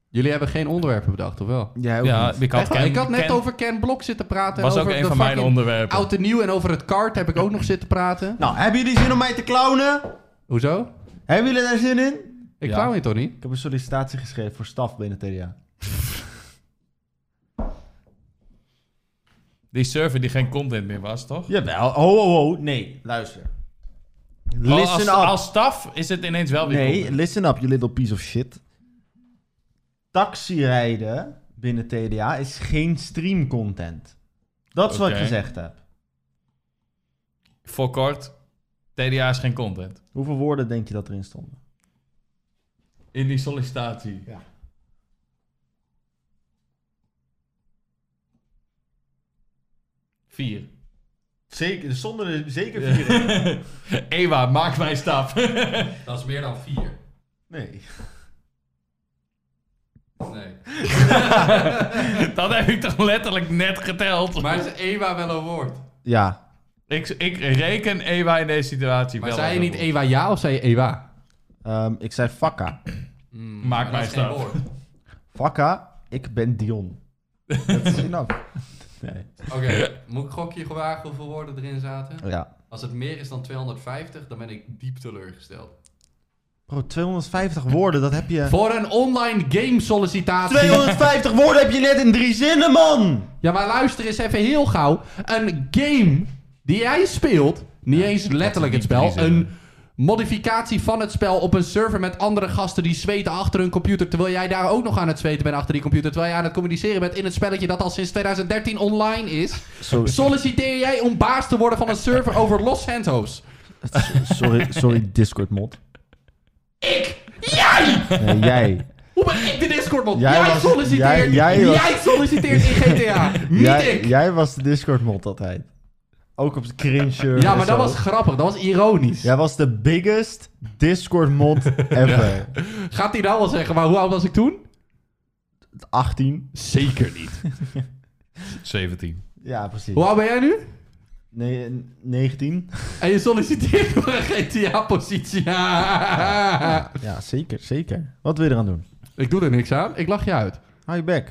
Jullie hebben geen onderwerpen bedacht, of wel?
Jij ook
Ja,
niet.
ik had,
Echt,
Ken-
ik had net
Ken-
over Ken Blok zitten praten.
was
en
ook
over
een
de
van mijn
fucking
onderwerpen.
Oud en nieuw en over het kart heb ik ook nog zitten praten.
Nou, hebben jullie zin om mij te clownen?
Hoezo?
Hebben jullie daar zin in?
Ik
Ja.
klauw je toch niet?
Ik heb een sollicitatie geschreven voor staf binnen TDA.
Die server die geen content meer was, toch?
Jawel. Ho, ho, ho. Nee, luister.
Oh,
Listen
als,
up.
als staf is het ineens wel weer
nee,
content.
listen up, you little piece of shit. Taxirijden binnen TDA is geen streamcontent. Dat is wat
Oké.
ik gezegd heb.
Voor kort, TDA is geen content.
Hoeveel woorden denk je dat erin stonden?
In die sollicitatie.
Ja.
Vier.
Zeker, er stonden er zeker vier in.
Ewa, maak mij staf.
Dat is meer dan vier.
Nee.
Nee.
Dat heb ik toch letterlijk net geteld.
Maar is Ewa wel een woord?
Ja.
Ik, ik reken Ewa in deze situatie
Maar
wel.
zei je
als
niet
een
Ewa ja of zei je Ewa?
Ehm, ik zei Fakka.
Maak Mm, mij stap.
Fakka, ik ben Dion. Dat is enough. Nee.
Oké, moet ik gokje gewagen hoeveel woorden erin zaten?
Oh Ja.
Als het meer is dan 250, dan ben ik diep teleurgesteld.
Bro, 250 woorden, dat heb je...
Voor een online game sollicitatie.
250 woorden heb je net in drie zinnen, man!
Ja, maar luister eens even heel gauw. Een game die jij speelt, niet eens letterlijk het
niet
spel,
drie zinnen.
een modificatie van het spel op een server met andere gasten die zweten achter hun computer, terwijl jij daar ook nog aan het zweten bent achter die computer, terwijl jij aan het communiceren bent in het spelletje dat al sinds 2013 online is.
Sorry,
Solliciteer jij om baas te worden van een server over Los Santos?
sorry, sorry Discord mod.
Ik? Jij?
Nee, jij.
Hoe ben ik de Discord mod? Jij,
Jij was-
solliciteert. Jij,
jij- jij was-
solliciteert in GTA. Niet
jij,
ik.
jij was de Discord mod altijd. Ook op de cringe shirt
ja,
en
maar dat
zo.
was grappig. Dat was ironisch.
Jij was de biggest Discord mod ever.
Gaat hij nou wel zeggen, maar hoe oud was ik toen?
18.
Zeker niet.
17.
Ja, precies.
Hoe oud ben jij nu?
Nee, n- 19.
En je solliciteert voor een GTA-positie.
Ja, zeker, zeker. Wat wil je eraan doen?
ik doe er niks aan. Ik lach je uit.
Hou je back.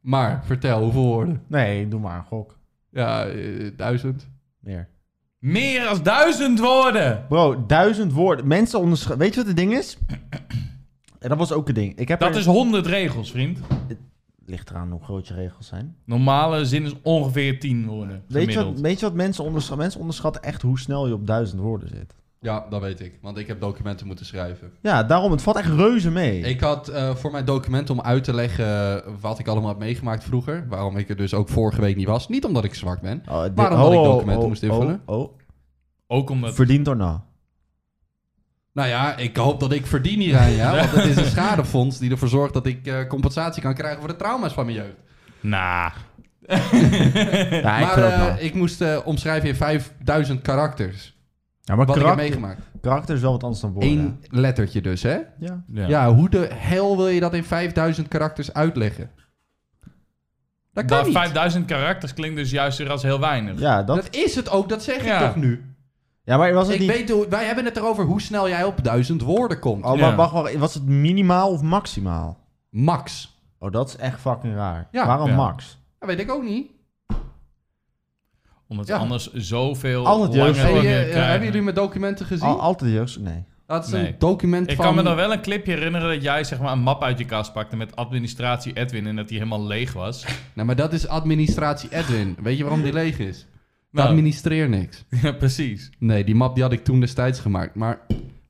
Maar, vertel, hoeveel woorden?
Nee, doe maar een gok.
Ja, eh, duizend.
Meer.
Meer dan duizend woorden.
Bro, duizend woorden. Mensen onderschatten. Weet je wat het ding is? En dat was ook een ding. Ik heb
Dat
er-
is 100 regels, vriend.
Ligt eraan hoe groot je regels zijn.
Normale zin is ongeveer 10 woorden.
Weet je,
Gemiddeld.
wat, weet je wat mensen onderschatten? Mensen onderschatten echt hoe snel je op duizend woorden zit.
Ja, dat weet ik. Want ik heb documenten moeten schrijven.
Ja, daarom, het valt echt reuze mee.
Ik had eh, voor mijn document om uit te leggen wat ik allemaal had meegemaakt vroeger. Waarom ik er dus ook vorige week niet was. Niet omdat ik zwak ben.
Oh, dit-
Waarom had ik documenten moest invullen?
Oh, oh.
Ook omdat...
Verdiend or nou?
Nou ja, ik hoop dat ik verdien hieraan, ja. Want het is een schadefonds die ervoor zorgt dat ik eh, compensatie kan krijgen voor de trauma's van mijn jeugd.
Nah.
Ja, ik
maar
vind dat
eh,
nou.
ik moest eh, omschrijven in 5000 karakters.
Ja, maar
Wat ik heb
karakter,
meegemaakt.
karakter is wel wat anders dan woorden.
Eén lettertje dus, hè? Ja.
Ja.
Ja.
hoe de hel wil je dat in 5000 karakters uitleggen? Dat kan
Dat
niet.
5000 karakters klinkt dus juist weer als heel weinig.
Ja, dat,
Dat is het ook, dat zeg
Ja.
ik toch nu.
ja, maar was het
Ik
niet...
weet, hoe- wij hebben het erover hoe snel jij op 1000 woorden komt.
Oh,
Ja.
maar wacht, wacht, was het minimaal of maximaal?
Max.
Oh, dat is echt fucking raar.
Ja.
Waarom
Ja.
max?
Dat weet ik ook niet.
Omdat
Ja.
anders zoveel
Al het
lange
jeugd-
Hey,
dingen
eh,
krijgen.
hebben jullie mijn documenten gezien?
Al, altijd juist? Nee.
dat is
Nee.
een document
Ik
van...
kan me nog wel een clipje herinneren dat jij zeg maar, een map uit je kast pakte met administratie Edwin en dat die helemaal leeg was.
Nou, maar dat is administratie Edwin. Weet je waarom die leeg is?
Nou.
Ik administreer niks.
ja, precies.
Nee, die map die had ik toen destijds gemaakt. Maar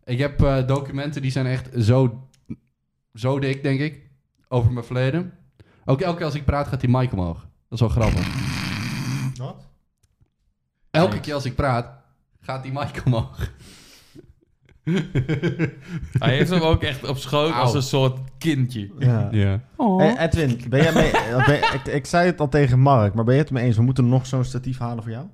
ik heb eh, documenten die zijn echt zo, zo dik, denk ik, over mijn verleden. Ook elke keer als ik praat gaat die mic omhoog. Dat is wel grappig.
Wat?
Elke keer als ik praat gaat die mic omhoog.
Hij heeft hem ook echt op schoot
Auw.
als een soort kindje.
Ja.
Ja.
Hey, Edwin, ben jij mee... eh, ben- ik, ik zei het al tegen Mark, maar ben je het mee eens? We moeten nog zo'n statief halen voor jou?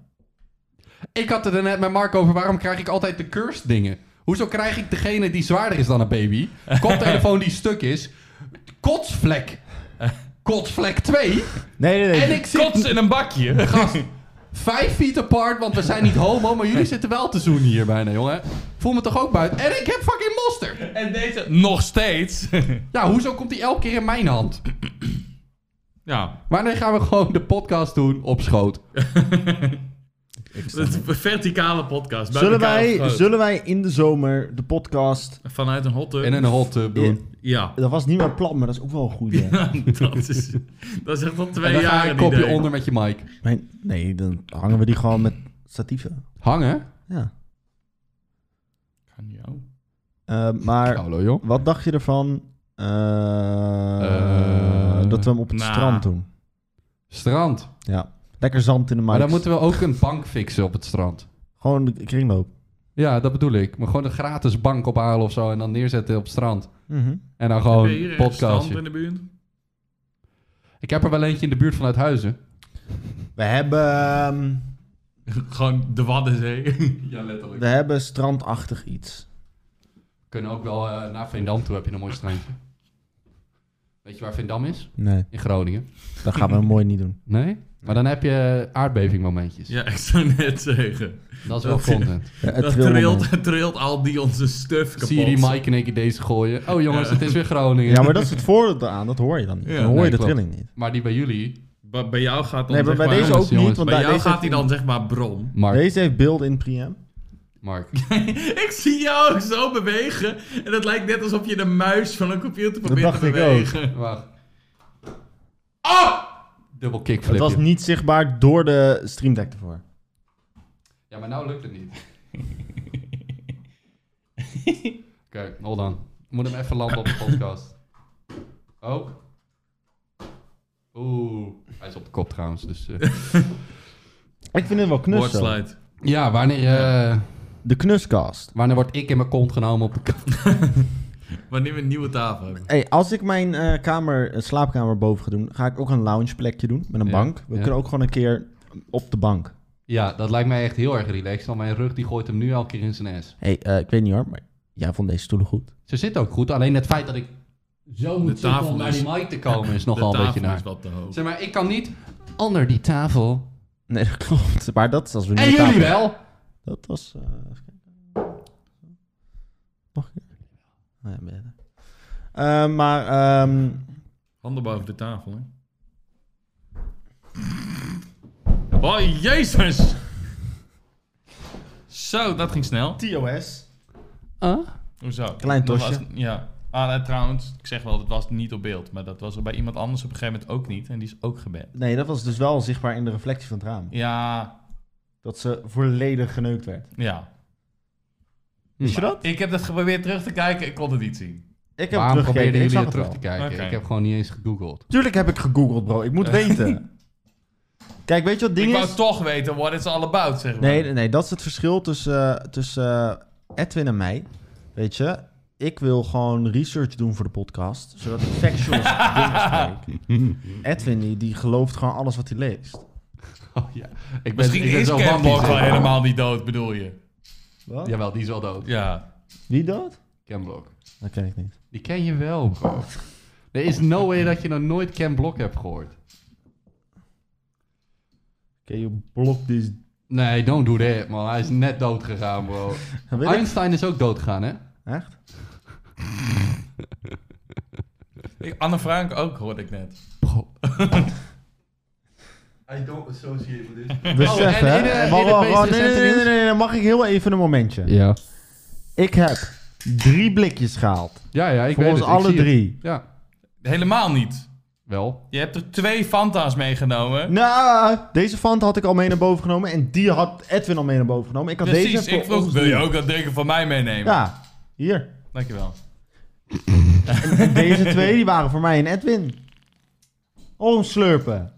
Ik had het er net met Mark over, waarom krijg ik altijd de cursed dingen? Hoezo krijg ik degene die zwaarder is dan een baby? Koptelefoon die stuk is. Kotsvlek. Kotsvlek 2.
Nee, nee, nee.
En ik zit
Kots in een bakje.
Gast, vijf feet apart, want we zijn niet homo, maar jullie zitten wel te zoenen hier bijna, jongen. Ik Voel me toch ook buiten. En ik heb fucking monster.
En deze nog steeds.
Ja, hoezo komt die elke keer in mijn hand?
ja,
Maar dan gaan we gewoon de podcast doen op schoot.
Ik snap
het
het.
verticale podcast. bij
Zullen
elkaar
wij,
opgehouden.
zullen wij in de zomer de podcast...
Vanuit een hot tub.
En een hot tub doen.
Ja,
Dat was niet mijn plan, maar dat is ook wel een goede.
dat is, dat is echt al
En
twee
dan ga
jaar
je een
een
kopje
idee.
onder met je mic.
Mijn- nee, dan hangen we die gewoon met statieven.
Hangen?
Ja.
Aan jou.
Eh, maar
Hallo joh.
wat dacht je ervan eh,
Eh,
dat we hem op het
nou.
strand doen?
Strand.
Ja. Lekker zand in de
Maar
markt.
dan moeten we ook een bank fixen op het strand.
Gewoon de kringloop.
Ja, dat bedoel ik. Maar gewoon een gratis bank ophalen of zo en dan neerzetten op het strand.
Mhm.
En dan
Heb
gewoon
je hier een
podcastje.
strand in de buurt?
Ik heb er wel eentje in de buurt vanuit Huizen.
We hebben, ehm,
Gewoon de Waddenzee.
Ja, letterlijk.
we hebben strandachtig iets.
We kunnen ook wel eh, naar Veendam toe, heb je een mooi strandje. Weet je waar Veendam is?
Nee,
In Groningen.
dat gaan we mooi niet doen.
Nee? Maar dan heb je aardbevingmomentjes.
Ja, ik zou net zeggen.
Dat is wel
Dat-
content.
Ja, het
Dat
wil
trilt,
moment.
het trilt al die onze stuff kapot.
Zie je die Mike en ik deze gooien? Oh jongens, het is weer Groningen.
Ja, maar dat is het voordeel eraan. Dat hoor je dan niet.
Ja,
dan hoor
nee,
je de
klopt.
trilling niet.
Maar die bij jullie,
Ba- bij jou gaat dan
Nee, maar bij
zeg maar...
deze
jongens,
ook niet.
jongens.
Want
bij
daar-
jou
deze
gaat hij
heeft-
dan zeg maar bron.
Mark.
Deze heeft beelden in preamp.
Mark.
ik zie jou ook zo bewegen. En het lijkt net alsof je de muis van een computer probeert te
dacht ik
bewegen.
Wacht. Oh! Dubbel
Het
kickflip.
was niet zichtbaar door de Stream Deck ervoor.
Ja, maar nou lukt het niet. Oké, hold on. Ik moet hem even landen op de podcast. Ook. Oeh. Hij is op de kop trouwens, dus... eh.
Ik vind het wel knus zo.
Woordslide.
ja, wanneer, eh,
De knuscast.
wanneer word ik in mijn kont genomen op de kast?
Wanneer we een nieuwe tafel hebben.
Hey, als ik mijn eh, kamer, eh, slaapkamer boven ga doen, ga ik ook een loungeplekje doen met een
Ja,
bank. We
ja.
kunnen ook gewoon een keer op de bank.
Ja, dat lijkt mij echt heel erg relaxed, want mijn rug die gooit hem nu elke keer in zijn ass.
Hey, eh, ik weet niet hoor, maar jij vond deze stoelen goed.
Ze zit ook goed, alleen het feit dat ik zo moet zitten
tafel
om naar
is-
die mic te komen is
de
nogal een
tafel
beetje naar.
is wat te hoog.
Zeg maar, ik kan niet onder die tafel.
Nee, dat klopt. Maar dat is als we nu
En
de
jullie
tafel-
wel?
Dat was. eh, even kijken. Nog een keer. Oh ja, beter. Eh, maar ehm,
Handen boven de tafel, hè. Oh, jezus! Zo, dat ging snel.
TOS.
Ah?
Hoezo?
Klein
Dat
tosje.
was- ja. Ah, nee, trouwens, ik zeg wel, dat was niet op beeld. Maar dat was er bij iemand anders op een gegeven moment ook niet. En die is ook geband.
Nee, dat was dus wel zichtbaar in de reflectie van het raam.
Ja,
Dat ze volledig geneukt werd.
ja.
Wist je dat?
Ik heb dat geprobeerd terug te kijken, ik kon het niet zien.
Ik heb
Waarom
teruggekeken.
probeerden
Ik
jullie
zag
het
het
terug
wel.
te kijken?
Oké.
Ik heb gewoon niet eens gegoogeld.
Tuurlijk heb ik gegoogeld, bro. Ik moet weten. Kijk, weet je wat het
ik
ding
wou
is?
toch weten what it's all about, zeg maar.
Nee, nee, nee, dat is het verschil tussen, eh, tussen eh, Edwin en mij. Weet je, ik wil gewoon research doen voor de podcast, zodat ik factual dingen spreek. Edwin, die, die gelooft gewoon alles wat hij leest.
Oh ja. Ik ben,
Misschien
ik ben
is
zo
Ken
bang
Block
die-
wel helemaal niet dood, bedoel je?
Wat?
Jawel, die is wel dood.
Ja.
Wie dood?
Ken Block.
Dat ken ik niet.
Die ken je wel, bro. Er is no way dat je nog nooit Ken Block hebt gehoord.
Oké, je blok die is...
Nee, don't do that, man. Hij is net dood gegaan, bro.
Weet ik-
Einstein is ook dood gegaan, hè?
Echt?
Ik, Anne Frank ook, hoorde ik net.
I don't associate with this.
Besef,
en
hè?
Oh, in de- in
Wacht,
de
wacht,
meest
wacht, nee, nee,
recente
nee, nee,
nieuws?
nee, nee, mag ik heel even een momentje?
Ja.
Ik heb drie blikjes gehaald.
Ja, ja, ik
voor
weet
ons
het. Ik
alle
zie het.
drie.
Ja,
Helemaal niet.
wel.
Je hebt er twee Fanta's meegenomen.
Nou, deze Fanta had ik al mee naar boven genomen. En die had Edwin al mee naar boven genomen. Ik had
Precies,
deze voor
ik vroeg,
ons
wil je
doen.
ook dat deken van mij meenemen?
Ja, hier.
Dankjewel.
En deze twee, die waren voor mij en Edwin. Oh, slurpen.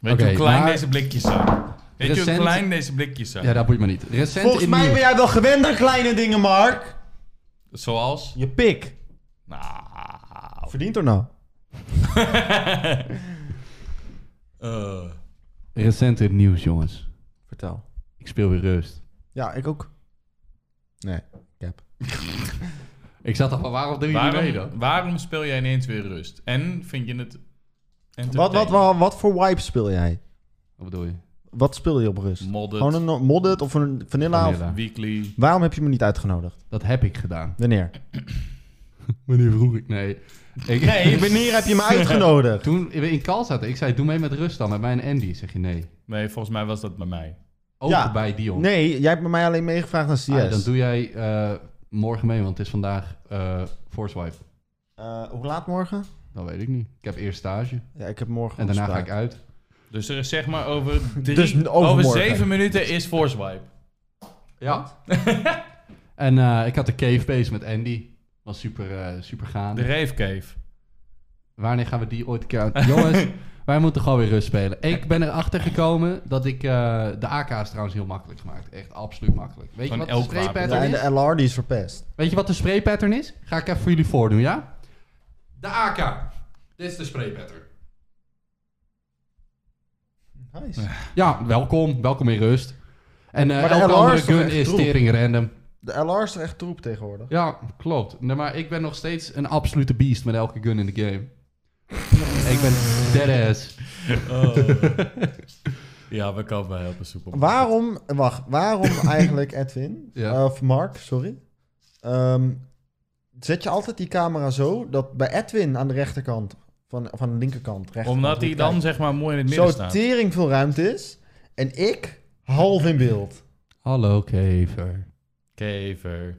Weet
Oké,
je hoe klein
maar-
deze blikjes zijn? Weet je
Recent-
hoe klein deze blikjes zijn?
Ja, dat boeit me niet. Recent
Volgens
in
mij ben
nieuws.
jij wel gewend aan kleine dingen, Mark.
Zoals?
Je pik.
Nou...
Verdient er nou?
eh,
Recent in nieuws, jongens.
Vertel.
Ik speel weer rust.
Ja, ik ook. Nee, ik heb.
Ik zat al van, waarom doe je niet mee dan?
waarom, waarom speel jij ineens weer rust? En vind je het...
Wat,
entertaining?
wat, wat, wat voor wipe speel jij?
Wat bedoel je?
Wat speelde je op rust?
Modded,
Gewoon een no- modded of een vanilla?
Vanilla.
Of,
weekly.
waarom heb je me niet uitgenodigd?
Dat heb ik gedaan.
Wanneer?
Wanneer vroeg ik? Nee. Ik,
Nee, wanneer heb je me uitgenodigd?
Toen we in Kal zaten, ik zei, doe mee met rust dan, met mij en Andy. Zeg je nee.
Nee, volgens mij was dat bij mij.
Ook
Ja.
bij Dion.
Nee, jij hebt bij mij alleen meegevraagd naar CS.
Ah, dan doe jij eh, morgen mee, want het is vandaag eh Forswipe.
Eh, hoe laat morgen?
Dat weet ik niet. Ik heb eerst stage
Ja, ik heb morgen
en daarna ga ik
afspraak.
uit.
Dus er is zeg maar over drie...
Dus overmorgen.
over zeven minuten is Forswipe.
Ja. en eh, ik had de cave base met Andy. Was super, eh, super gaande.
De Rave Cave.
Wanneer gaan we die ooit een keer uit? Jongens, wij moeten gewoon weer rust spelen. Ik ben erachter gekomen dat ik... eh, de AK is trouwens heel makkelijk gemaakt. Echt absoluut makkelijk. Weet je
Van
wat de
elk
spray
wapen.
pattern
Ja, en
is?
de LR die is verpest.
Weet je wat de spray pattern is? Ga ik even voor jullie voordoen, ja? De AK. Dit is de spray pattern.
Nice.
Ja, welkom. Welkom in rust. En eh
Maar de
elke
LR
andere
is toch
gun
echt
is
troep?
tering random.
De LR is er echt troep tegenwoordig.
Ja, klopt. Nee, maar ik ben nog steeds een absolute beast met elke gun in de game. ik ben dead ass.
ja, we komen wel helpen, super.
Waarom, wacht, waarom eigenlijk Edwin,
Ja.
Eh, of Mark, sorry, Ehm, zet je altijd die camera zo dat bij Edwin aan de rechterkant, van, van de linkerkant, rechterkant,
Omdat
hoe
hij
je
dan
kijkt,
zeg maar mooi in het midden
zo
staat.
tering veel ruimte is en ik half in beeld.
Hallo, kever.
Kever.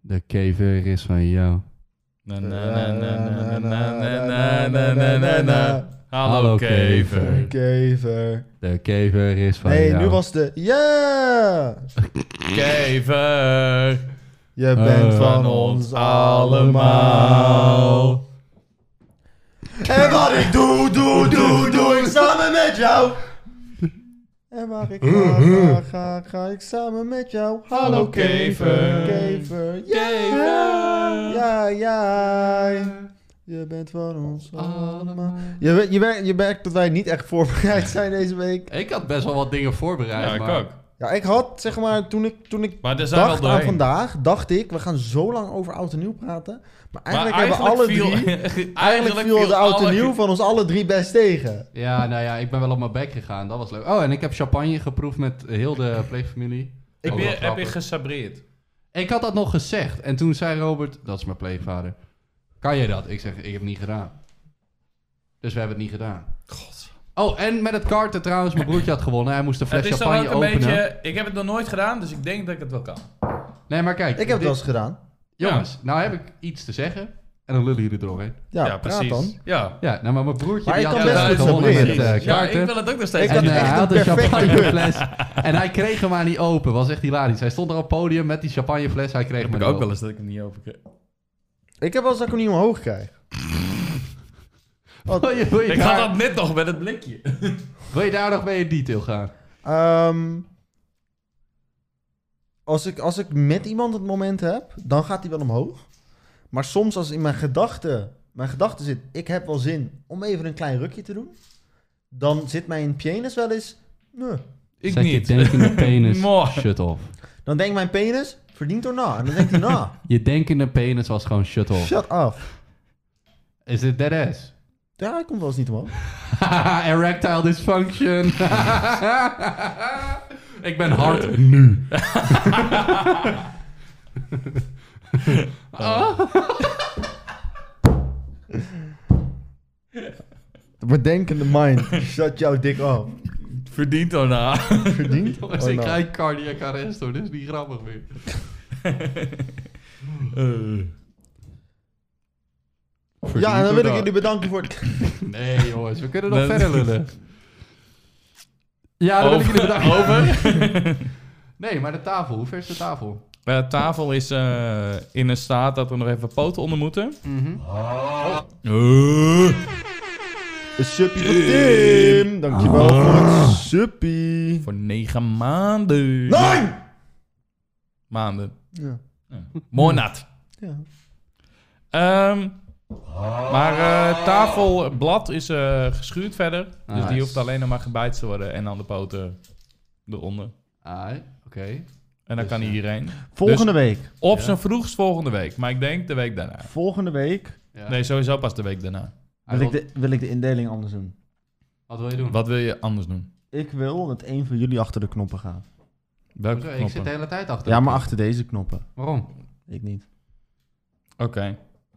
De kever is van jou.
Na, na, na, na, na, na, na, na, na, na, na, na. Hallo,
Hallo,
Kever.
kever.
Kever.
De kever is van
Nee,
jou.
nu was de, yeah,
Kever.
je bent
Eh,
van ons allemaal. En wat ik doe, doe, doe, doe ik samen met jou. En waar ik ga, ga, ga, ga ik samen met jou. Mm-hmm. Hallo
Hallo,
kever,
kever.
kever,
Kever.
ja, ja, ja. Je bent van ons allemaal. Je, we- je, merkt- je merkt dat wij niet echt voorbereid zijn deze week.
Ik had best wel wat dingen voorbereid.
Ja, ik
maar
ook.
Ja, ik had, zeg maar, toen ik, toen ik
Maar er zijn wel
dacht aan
doorheen.
vandaag, dacht ik, we gaan zo lang over oud en nieuw praten. Maar eigenlijk,
Maar
hebben we alle drie,
eigenlijk
eigenlijk viel het oud en
alle-
nieuw van ons alle drie best tegen.
Ja, nou ja, ik ben wel op mijn bek gegaan. Dat was leuk. Oh, en ik heb champagne geproefd met heel de pleegfamilie.
Ik
Ook
weer-
wel
heb je
grappig.
gesabreerd.
Ik had dat nog gezegd. En toen zei Robert, dat is mijn pleegvader. Kan je dat? Ik zeg, ik heb het niet gedaan. Dus we hebben het niet gedaan.
God.
Oh, en met het karten trouwens. Mijn broertje had gewonnen. Hij moest de
Het
fles
is toch ook
champagne
een
openen.
beetje... Ik heb het nog nooit gedaan, dus ik denk dat ik het wel kan.
Nee, maar kijk.
Ik heb het
dit-
wel eens gedaan.
Jongens, nou heb ik iets te zeggen. En dan lullen jullie er doorheen.
Ja, praat dan.
Ja.
Ja, nou, maar mijn broertje
Maar
die
ik
had
kan best
eh,
goed
gewonnen met
sabreren.
eh,
Ja,
kaarten.
ik wil het ook nog
Ik
steeds.
had
en, eh,
echt
hij
een
had een
perfecte
champagnefles. en hij kreeg hem maar niet open. Was echt hilarisch. Hij stond er op het podium met die champagnefles. Hij kreeg
heb
hem
ik
niet
ook wel
open.
eens dat ik het niet open kreeg.
Ik heb wel eens dat ik hem niet omhoog krijg.
Wil je, wil, je
Ik had
daar,
dat net nog met het blikje.
wil je daar nog mee in detail gaan?
Ehm, als, ik, als ik met iemand het moment heb, dan gaat hij wel omhoog. Maar soms als in mijn gedachten mijn gedachte zit, ik heb wel zin om even een klein rukje te doen. Dan zit mijn penis wel eens, nee.
Ik
Zet
niet.
je denkende penis
Mooi.
shut off.
Dan denkt mijn penis, verdient or na. En dan denkt hij, na,
Je denkende penis was gewoon shut off.
shut up.
Is dit dead ass?
Ja, hij komt wel eens niet omhoog.
Erectile dysfunction. ik ben hard nu. Oh,
Oh.
De bedenkende mind, shut jouw dik af.
Verdient nou. daarna.
Verdient Oh, or
Oh,
Jongens, ik
na.
krijg cardiac arrest hoor. Dit is niet grappig meer.
Ja, en dan wil ik jullie
nu.
bedanken voor het...
Nee jongens, we kunnen nog
Nee.
verder lullen. Ja, dan wil ik jullie bedanken. Nee, maar de tafel. Hoe ver is de tafel?
De tafel is eh, in een staat dat er nog even poten onder moeten. Eh.
Een suppie voor Tim. Dankjewel voor het suppie.
Voor negen maanden.
Nee!
Maanden.
Ja.
Monat.
ja.
Ehm, maar eh, tafelblad is eh, geschuurd verder. Dus
Nice.
die hoeft alleen nog maar gebijt te worden. En dan de poten eronder.
Ah, oké.
En dan
Dus,
kan
eh,
iedereen.
Volgende week.
Op
Ja.
zijn vroegst volgende week. Maar ik denk de week daarna.
Volgende week
Ja.
Nee, sowieso pas de week daarna.
Hij
wil ik,
wil-
de, wil ik de indeling anders doen.
Wat wil je doen?
Wat wil je anders doen?
Ik wil dat een van jullie achter de knoppen gaat.
Welke
Hoezo? Ik
knoppen?
zit de hele tijd achter.
Ja,
de
maar
knop.
achter deze knoppen.
Waarom?
Ik niet.
Oké.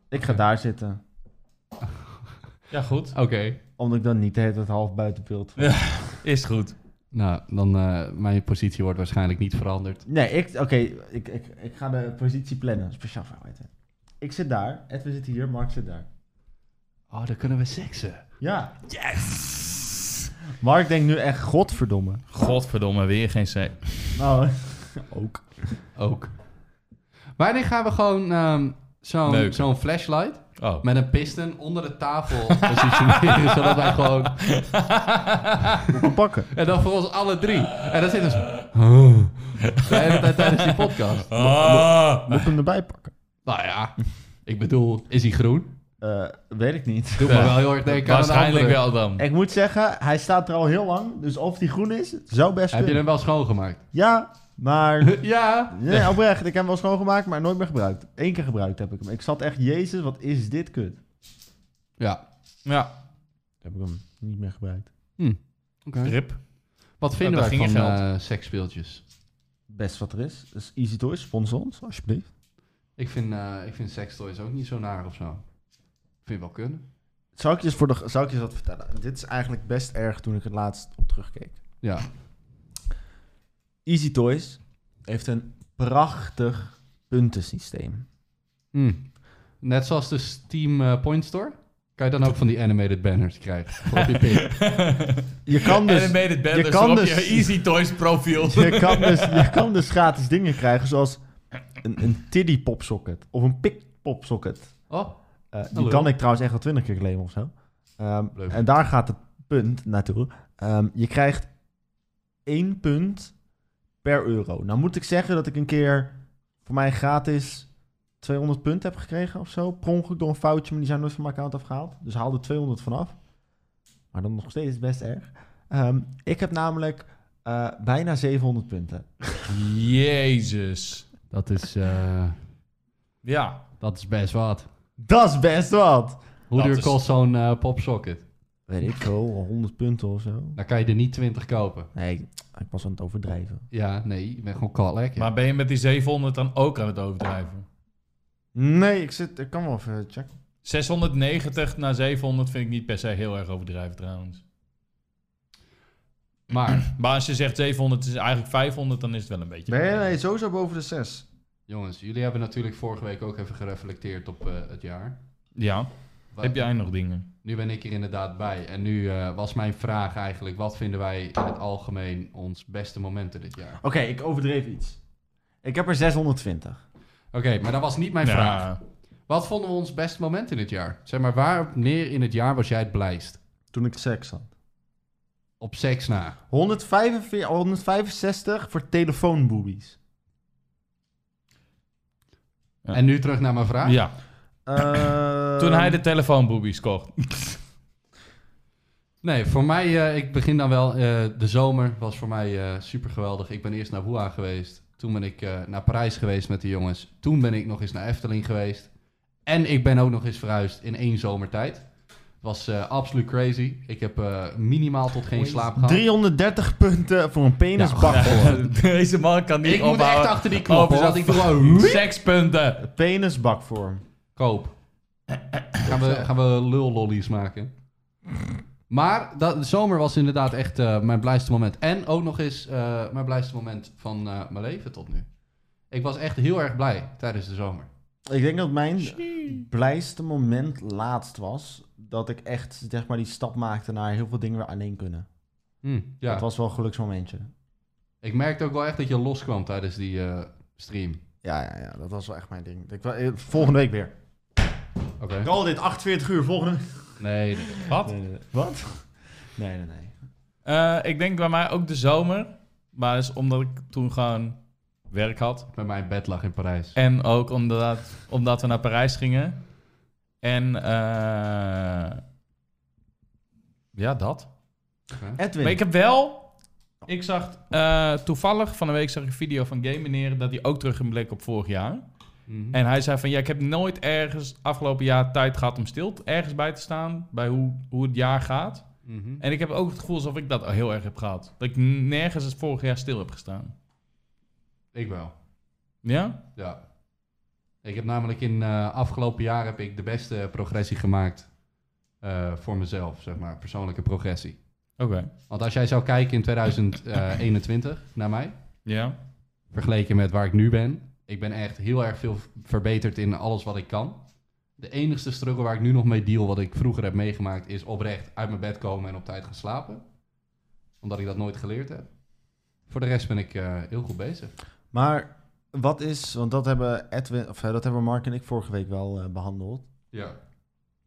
Ik ga
Oké.
daar zitten.
Ja, goed.
Oké.
Omdat ik dan niet de hele tijd half buiten beeld word.
Is goed.
Nou, dan eh, mijn positie wordt waarschijnlijk niet veranderd.
Nee, ik... Oké, ik, ik, ik ga de positie plannen. Speciaal voor jou, Edwin. Ik zit daar. Edwin zit hier. Mark zit daar.
Oh, dan kunnen we seksen.
Ja.
Yes!
Mark denkt nu echt... Godverdomme.
Godverdomme, weer geen sec.
Nou, ook.
Ook. Wanneer gaan we gewoon ehm, zo'n
Leuk.
zo'n flashlight
Oh.
met een piston onder de tafel positioneren, zodat wij gewoon...
pakken.
En dan voor ons alle drie. En dan zitten ze... De hele tijd tijdens die podcast.
Ah.
Moet ik hem erbij pakken?
Nou ja, ik bedoel, is hij groen?
Eh, weet ik niet.
Doe me wel heel erg denken aan een
Waarschijnlijk
andere.
wel dan.
Ik moet zeggen, hij staat er al heel lang. Dus of die groen is, zou
Heb
best
je
kunnen.
hem wel schoongemaakt?
Ja, maar...
ja.
Nee, oprecht. Ik heb hem wel schoongemaakt, maar nooit meer gebruikt. Eén keer gebruikt heb ik hem. Ik zat echt, jezus, wat is dit kut.
Ja.
Ja.
Heb ik hem niet meer gebruikt.
Rip.
Wat vinden wij
Ja, daar
van
ging je
eh seksspeeltjes?
Best wat er is. Dus Easy Toys, sponsor ons, alsjeblieft.
Ik vind, eh ik vind sekstoys ook niet zo naar of zo. Ik vind wel kunnen.
Zou ik je eens, voor de, zou ik je eens wat vertellen? Dit is eigenlijk best erg toen ik het laatst op terugkeek.
Ja.
Easy Toys heeft een prachtig puntensysteem.
Hmm. Net zoals de Steam eh, Point Store. Kan je dan ook van die animated banners krijgen? Voor op je pik.
Je kan dus...
Animated Band,
je
dus
kan
op
dus-
je Easy Toys profiel.
Je kan, dus, je kan dus gratis dingen krijgen, zoals een, een tiddy popsocket of een pik popsocket.
Oh,
Eh, die
Hallo.
kan ik trouwens echt al twintig keer claimen of zo. Ehm,
Leuk.
en daar gaat het punt naartoe. Ehm, je krijgt één punt per euro. Nou moet ik zeggen dat ik een keer voor mij gratis 200 punten heb gekregen of zo. Per ongeluk door een foutje, maar die zijn nooit van mijn account afgehaald. Dus haal er 200 vanaf. Maar dan nog steeds best erg. Ehm, ik heb namelijk eh, bijna 700 punten.
Jezus.
dat is, eh,
Ja.
dat is best wat.
Dat is best wat!
Hoe
Dat
duur
is-
kost zo'n eh, popsocket?
Weet ik veel, 100 punten of zo.
Dan kan je er niet 20 kopen.
Nee, ik, ik was aan het overdrijven.
Ja, nee, je bent gewoon kwaad lekker.
Maar ben je met die 700 dan ook aan het overdrijven?
Nee, ik, zit, ik kan wel even checken.
690 naar 700 vind ik niet per se heel erg overdrijven trouwens.
maar
Maar als je zegt 700 is eigenlijk 500, dan is het wel een beetje...
Nee, nee, sowieso boven de 6.
jongens, jullie hebben natuurlijk vorige week ook even gereflecteerd op eh, het jaar.
Ja.
Wa-
Heb jij nog dingen?
Nu ben ik er inderdaad bij. En nu eh, was mijn vraag eigenlijk: wat vinden wij in het algemeen ons beste momenten dit jaar?
Oké, ik overdreef iets. Ik heb er 620.
Oké, maar dat was niet mijn
Ja.
vraag. Wat vonden we ons beste moment in het jaar? Zeg maar, waar neer in het jaar was jij het blijst?
Toen ik seks had.
Op seks na.
145, 165 voor telefoonboobies.
Ja.
En nu terug naar mijn vraag.
Ja.
Eh,
Toen hij de telefoonboobies kocht.
Nee, voor mij, eh, ik begin dan wel. eh, de zomer was voor mij super geweldig. Ik ben eerst naar Wuha geweest. Toen ben ik eh, naar Parijs geweest met de jongens. Toen ben ik nog eens naar Efteling geweest. En ik ben ook nog eens verhuisd in één zomertijd. Het was eh, absoluut crazy. Ik heb eh, minimaal tot geen slaap gehad.
330 punten voor een penisbak.
Deze man kan niet
Ik moet echt
ophouden.
achter die knop,
Over
zodat ik
dat-
doe gewoon...
Sekspunten.
Penisbak voor
Koop. Gaan we, gaan we lullollies maken. Maar dat, de zomer was inderdaad echt eh, mijn blijste moment. En ook nog eens eh, mijn blijste moment van eh, mijn leven tot nu. Ik was echt heel erg blij tijdens de zomer.
Ik denk dat mijn blijste moment laatst was. Dat ik echt zeg maar, die stap maakte naar heel veel dingen weer alleen kunnen.
Hm,
Dat
ja.
was wel een geluksmomentje.
Ik merkte ook wel echt dat je loskwam tijdens die eh, stream.
Ja, ja, ja, dat was wel echt mijn ding. Ik, wa- eh, volgende week weer.
Oké.
Al dit 48 uur volgende.
Nee, nee.
Wat?
Wat? Nee, nee, nee.
Eh, ik denk bij mij ook de zomer. Maar dat is omdat ik toen gewoon werk had.
bij mij in bed lag in Parijs.
En ook omdat, omdat we naar Parijs gingen. En eh, ja, dat.
Edwin.
Maar ik heb wel... Ik zag eh, toevallig van de week zag ik een video van Game Meneer... dat hij ook terug in blik op vorig jaar.
Mhm.
En hij zei van, ja, ik heb nooit ergens afgelopen jaar tijd gehad om stil te- ergens bij te staan. Bij hoe, hoe het jaar gaat.
Mhm.
En ik heb ook het gevoel alsof ik dat al heel erg heb gehad. Dat ik nergens als vorig jaar stil heb gestaan.
Ik wel.
Ja?
Ja. Ik heb namelijk in eh afgelopen jaar heb ik de beste progressie gemaakt eh, voor mezelf, zeg maar, persoonlijke progressie.
Oké.
Want als jij zou kijken in 2021 naar mij,
Ja?
vergeleken met waar ik nu ben, ik ben echt heel erg veel verbeterd in alles wat ik kan. De enigste struggle waar ik nu nog mee deal, wat ik vroeger heb meegemaakt, is oprecht uit mijn bed komen en op tijd gaan slapen. Omdat ik dat nooit geleerd heb. Voor de rest ben ik eh, heel goed bezig.
Maar wat is, want dat hebben Edwin, of eh, dat hebben Mark en ik vorige week wel eh, behandeld.
Ja.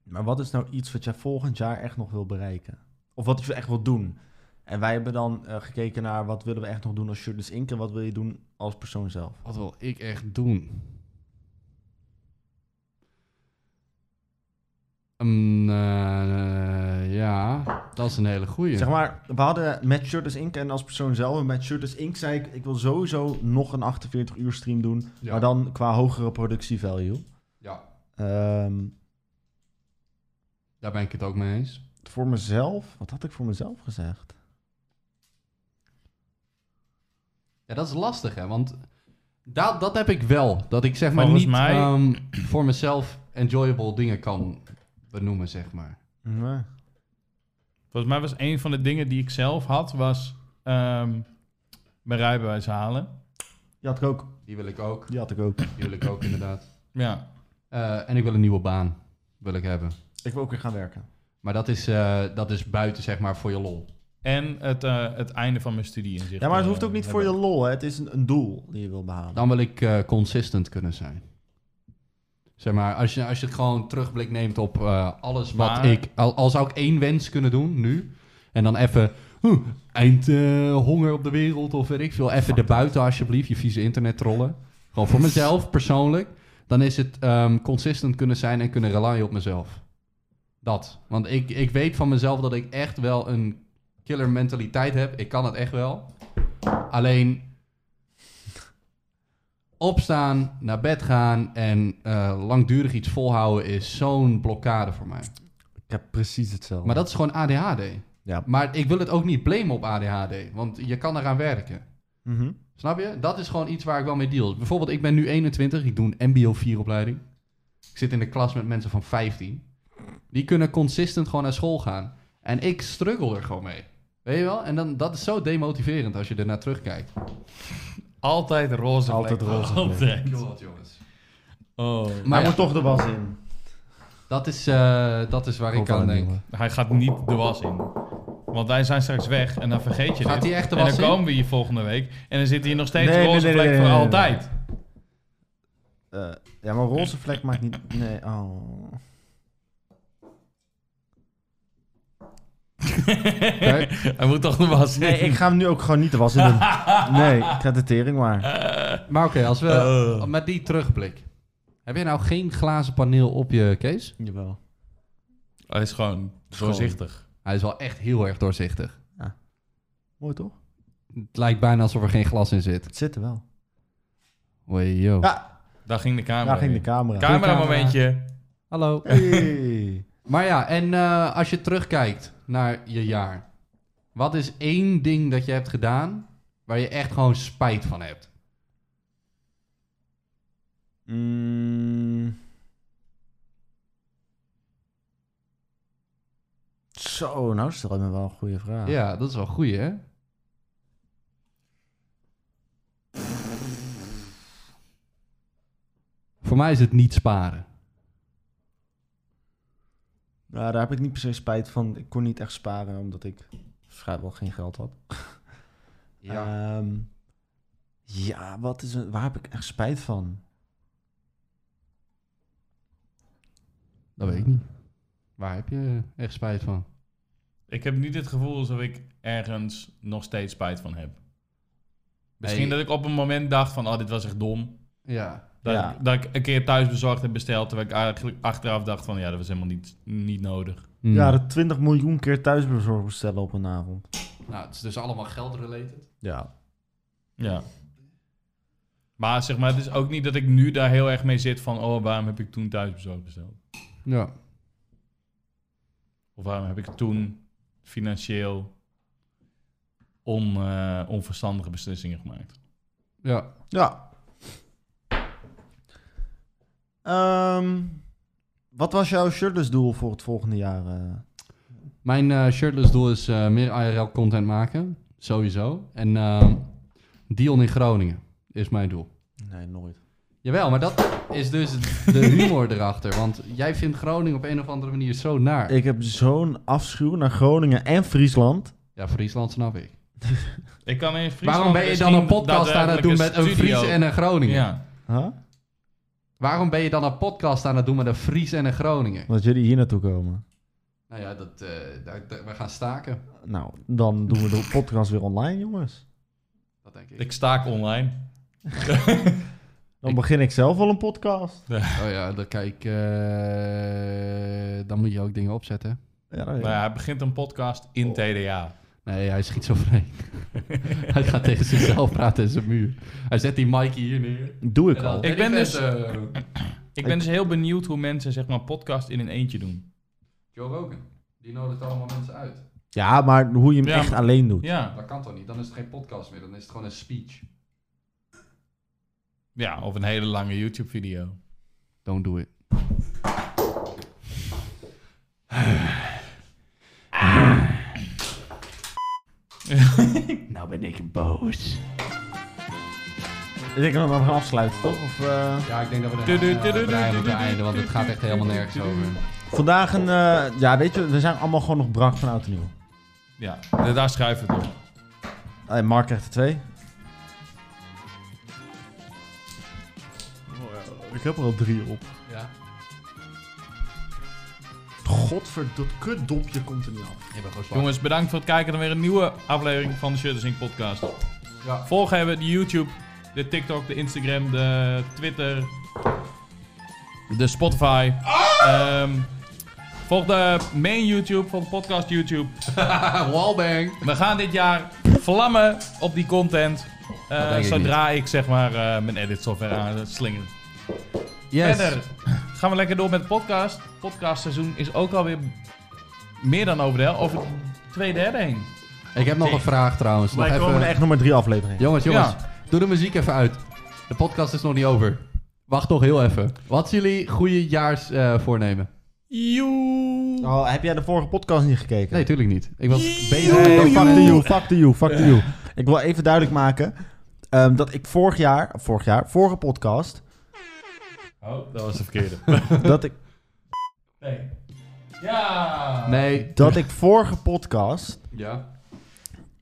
Maar wat is nou iets wat jij volgend jaar echt nog wil bereiken? Of wat je echt wil doen? En wij hebben dan eh, gekeken naar wat willen we echt nog doen als Shirtless Inc. en wat wil je doen als persoon zelf?
Wat wil ik echt doen? Mm, eh, ja, dat is een hele goeie.
Zeg maar, we hadden met Shirtless Inc. en als persoon zelf. En met Shirtless Inc. zei ik, ik wil sowieso nog een 48 uur stream doen.
ja.
Maar dan qua hogere productievalue.
ja,
Ehm,
daar ben ik het ook mee eens.
voor mezelf, wat had ik voor mezelf gezegd?
Ja, dat is lastig, hè? Want dat, dat heb ik wel. Dat ik zeg maar
Volgens
niet
mij-
ehm, voor mezelf enjoyable dingen kan benoemen, zeg maar.
Nee.
Volgens mij was een van de dingen die ik zelf had, was ehm, mijn rijbewijs halen.
Die had ik ook.
Die wil ik ook.
Die had ik ook.
Die wil ik ook, inderdaad.
Ja.
Eh, en ik wil een nieuwe baan. Wil ik hebben.
Ik wil ook weer gaan werken.
Maar dat is, eh, dat is buiten, zeg maar, voor je lol.
En het, eh, het einde van mijn studie in zich.
Ja, maar het
eh,
hoeft ook niet voor
hebben.
je lol. Hè. Het is een, een doel die je wil behalen.
Dan wil ik eh, consistent kunnen zijn. Zeg maar, als je, als je het gewoon terugblik neemt op eh, alles wat
Maar-
ik... Al, al zou ik één wens kunnen doen, nu. En dan even... huh, eind eh, honger op de wereld of weet ik veel. Even erbuiten alsjeblieft, je vieze internet trollen. Gewoon voor mezelf, persoonlijk. Dan is het ehm, consistent kunnen zijn en kunnen relyen op mezelf. Dat. Want ik, ik weet van mezelf dat ik echt wel een killer mentaliteit heb. Ik kan het echt wel. Alleen opstaan, naar bed gaan en eh, langdurig iets volhouden is zo'n blokkade voor mij.
Ik heb precies hetzelfde.
Maar dat is gewoon ADHD.
Ja.
Maar ik wil het ook niet blamen op ADHD, want je kan eraan werken.
Mhm.
Snap je? Dat is gewoon iets waar ik wel mee deal. Bijvoorbeeld, ik ben nu 21, ik doe een MBO 4 opleiding. Ik zit in de klas met mensen van 15. Die kunnen consistent gewoon naar school gaan. En ik struggle er gewoon mee. Weet je wel? En dan, dat is zo demotiverend als je ernaar terugkijkt.
Altijd roze
Altijd
vlekken.
roze vlekken.
Altijd.
jongens.
Oh.
Maar
Hij
ja,
moet toch de was in.
dat, is, eh, dat is waar ik aan denk.
Hij gaat niet de was in. Want wij zijn straks weg en dan vergeet je
Gaat
dit.
hij echt de
en
was
dan
in?
komen we hier volgende week en dan zit hier nog steeds
Nee, nee,
roze
nee, nee,
vlek
nee, nee,
voor
nee.
altijd.
Eh, ja, maar roze vlek maakt niet... Nee, oh.
Hij moet toch de was in.
Nee, ik ga hem nu ook gewoon niet de was in doen. Nee, ik ga de tering maar.
Maar oké, als we
Oh.
met die terugblik. Heb jij nou geen glazen paneel op je case?
Jawel.
Hij is gewoon
Schoon.
doorzichtig.
Hij is wel echt heel erg doorzichtig.
Mooi toch?
Het lijkt bijna alsof er geen glas in zit.
Het zit er wel.
Oei, joh.
Ja,
Daar ging de camera
daar ging de
in.
camera.
camera
Goeie
momentje.
Hallo.
Hey.
Maar ja, en eh, als je terugkijkt naar je jaar. Wat is één ding dat je hebt gedaan waar je echt gewoon spijt van hebt?
Mm. Zo, nou stel je me wel een goede vraag.
Ja, dat is wel goed, hè? Voor mij is het niet sparen.
Nou, daar heb ik niet per se spijt van. Ik kon niet echt sparen, omdat ik vrijwel geen geld had. Ehm, ja, wat is een, waar heb ik echt spijt van?
Dat weet ik niet. Waar heb je echt spijt van?
Ik heb niet het gevoel alsof ik ergens nog steeds spijt van heb. Misschien
Hey.
dat ik op een moment dacht van, oh, dit was echt dom.
Ja.
Dat,
Ja.
dat ik een keer thuis bezorgd heb besteld, terwijl ik eigenlijk achteraf dacht van, ja, dat was helemaal niet, niet nodig.
Hmm.
Ja, dat 20 miljoen keer thuisbezorgd bestellen op een avond.
Nou, het is dus allemaal geld-related.
Ja.
Ja. Maar zeg maar, het is ook niet dat ik nu daar heel erg mee zit van, oh, waarom heb ik toen thuisbezorgd besteld?
Ja.
Of waarom heb ik toen financieel on, eh, onverstandige beslissingen gemaakt.
Ja.
Ja. Ehm, wat was jouw shirtless doel voor het volgende jaar? eh?
Mijn eh, shirtless doel is eh, meer IRL content maken. Sowieso. En ehm, Dion in Groningen is mijn doel.
Nee, nooit.
Jawel, maar dat is dus de humor erachter. Want jij vindt Groningen op een of andere manier zo naar.
Ik heb zo'n afschuw naar Groningen en Friesland.
Ja, Friesland snap ik.
Ik kan in dus Friesland
Waarom ben je dan
misschien
een podcast aan het doen met een
daadwerkelijk
Fries
studio-
en een Groningen?
Ja.
Huh?
Waarom ben je dan een podcast aan het doen met een Fries en een Groningen?
Omdat jullie hier naartoe komen.
Nou ja, dat, eh, daar- daar- we gaan staken.
Nou, dan doen we de podcast weer online, jongens.
Dat denk ik.
Ik staak online.
Dan
Ik-
begin ik zelf al een podcast.
Oh ja, dan kijk. eh, dan moet je ook dingen opzetten.
Nou Ja, dat weet ik.
Maar Nou ja, hij begint een podcast
Oh.
in TDA.
Nee, hij schiet zo vrij. hij gaat tegen zichzelf praten in zijn muur. Hij zet die Mikey hier neer.
Doe ik
En dan-
al.
Ik ben dus-
eh,
Ik ben dus heel benieuwd hoe mensen zeg maar een podcast in een eentje doen.
Joe Rogan. Die nodigt allemaal mensen uit.
Ja, maar hoe je hem
Ja,
echt
maar-
alleen doet.
Ja.
Dat kan toch niet? Dan is het geen podcast meer. Dan is het gewoon een speech.
Ja, of een hele lange YouTube video.
Don't do it. nou ben ik boos.
Ik denk dat we hem gaan afsluiten, toch? Of, eh,
Ja, ik denk dat we
Tudu,
de
tudu,
draai
tudu,
moeten
tudu,
einden, want het gaat echt helemaal nergens over.
Vandaag een... eh, ja, weet je, we zijn allemaal gewoon nog brak van oud en nieuw.
Ja, da- daar schuiven we het op.
Eh, Mark krijgt er twee. Oh, eh, Ik heb er al drie op.
Ja,
Godver, dat kutdopje komt er niet af.
ik ben gewoon Jongens,
Jongens, bedankt voor het kijken naar weer een nieuwe aflevering van de Shutters Inc. podcast.
ja.
Volg hebben de YouTube, de TikTok, de Instagram, de Twitter, de Spotify.
Ah!
Ehm, volg de main YouTube, volg de podcast YouTube.
wallbang.
We gaan dit jaar vlammen op die content. eh,
Dat denk ik
zodra ik zeg maar eh, mijn edit software aan het slingeren. Verder gaan we lekker door met de podcast. Podcastseizoen is ook alweer meer dan over de helft. Over twee derde heen.
Ik heb nog een vraag trouwens. Nog
Wij komen er
even.
echt nog maar drie afleveringen.
Jongens, jongens.
Ja.
Doe de muziek even uit. De podcast is nog niet over. Wacht nog heel even. Wat is jullie goede jaars eh, voornemen?
Joe.
Oh, heb jij de vorige podcast niet gekeken?
Nee, tuurlijk niet. Ik was bezig
Nee,
met
fuck the you, fuck the you, fuck the you. Ik wil even duidelijk maken ehm, dat ik vorig jaar, vorig jaar, vorige podcast,
Oh, dat was de verkeerde.
dat ik,
nee. Ja.
Nee.
dat ik vorige podcast
Ja.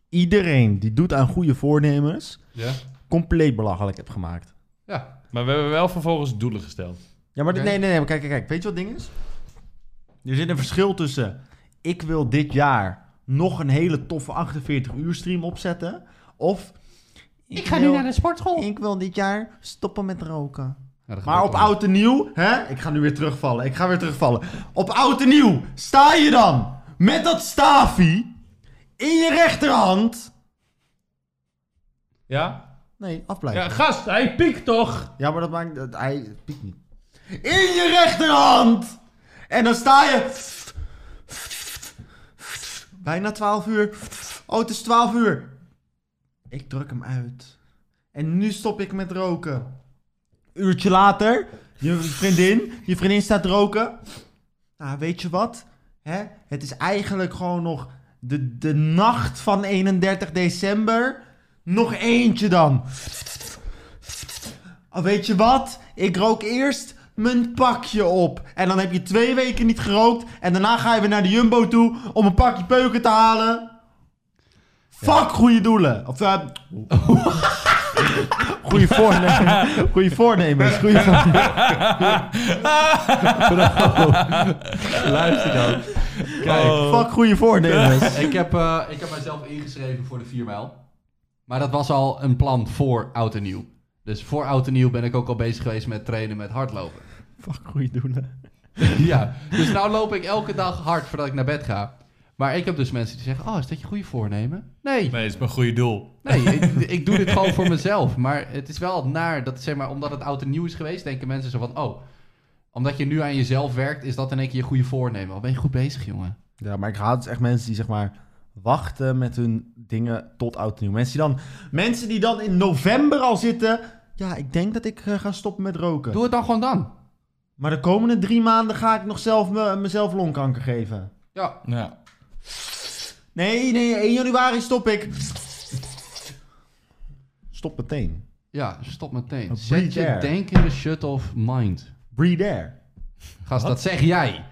iedereen die doet aan goede voornemens
Ja.
compleet belachelijk heb gemaakt.
Ja.
Maar we hebben wel vervolgens doelen gesteld.
Ja, maar dit-
Oké.
nee, nee, nee, maar kijk, kijk, kijk, weet je wat het ding is? Er zit een verschil tussen, ik wil dit jaar nog een hele toffe 48 uur stream opzetten, of... Ik, wil-
sportschool.
Ik wil dit jaar stoppen met roken.
Ja, dat
Maar
gebeurt
op
wel.
oud en nieuw, hè? Ik ga nu weer terugvallen. Ik ga weer terugvallen. Op oud en nieuw sta je dan met dat staafie in je rechterhand.
Ja?
Nee, afblijven.
Ja,
Ja,
gast, hij piekt toch?
maar dat maakt. Dat, hij piekt niet. In je rechterhand! En dan sta je. Bijna 12 uur. Oh, het is 12 uur. Ik druk hem uit. En nu stop ik met roken. Uurtje later, je vriendin, je vriendin staat roken. Nou, weet je wat? Hè? Het is eigenlijk gewoon nog de, de nacht van 31 december. Nog eentje dan. Oh, weet je wat? Ik rook eerst mijn pakje op. En dan heb je twee weken niet gerookt. En daarna ga je weer naar de Jumbo toe om een pakje peuken te halen. Fuck goede doelen. Of, eh, goede voornemens. Oh. Goede voornemens. Goede voornemens.
Luister dan. Kijk,
Fuck goede voornemens.
ik, heb, eh, ik heb mijzelf ingeschreven voor de 4 mijl. Maar dat was al een plan voor oud en nieuw. Dus voor oud en nieuw ben ik ook al bezig geweest met trainen met hardlopen.
Fuck goede doelen.
ja, dus nou loop ik elke dag hard voordat ik naar bed ga. Maar ik heb dus mensen die zeggen, oh, is dat je goede voornemen? Nee,
Nee, het is mijn goede doel.
nee, ik, ik doe dit gewoon voor mezelf. Maar het is wel naar, dat zeg maar, omdat het oud en nieuw is geweest, denken mensen zo van, oh, omdat je nu aan jezelf werkt, is dat in één keer je goede voornemen. Al ben je goed bezig, jongen.
Ja, maar ik haat dus echt mensen die zeg maar wachten met hun dingen tot oud en nieuw. Mensen die dan, mensen die dan in november al zitten. Ja, ik denk dat ik eh, ga stoppen met roken.
Doe het dan gewoon dan.
Maar de komende drie maanden ga ik nog zelf me, mezelf longkanker geven.
Ja.
Ja.
Nee, nee, 1 januari stop ik. Stop meteen.
Ja, stop meteen.
Een
Zet je
breather.
denkende shut off mind.
Breathe air.
Gast, dat zeg jij.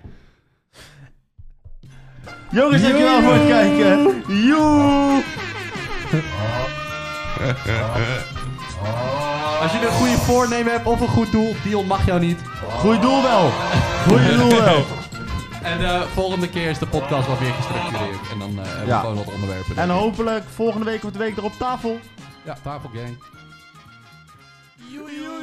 Jongens, dankjewel voor het kijken. Joe!
Als je een goede voornemen hebt of een goed doel, Dion mag jou niet.
Goeie doel wel. Goeie doel wel.
En eh volgende keer is de podcast wat weer gestructureerd. En dan eh, hebben
Ja.
we gewoon wat onderwerpen.
En
denk ik.
hopelijk volgende week of de week erop tafel.
Ja, tafelgang.
Joe!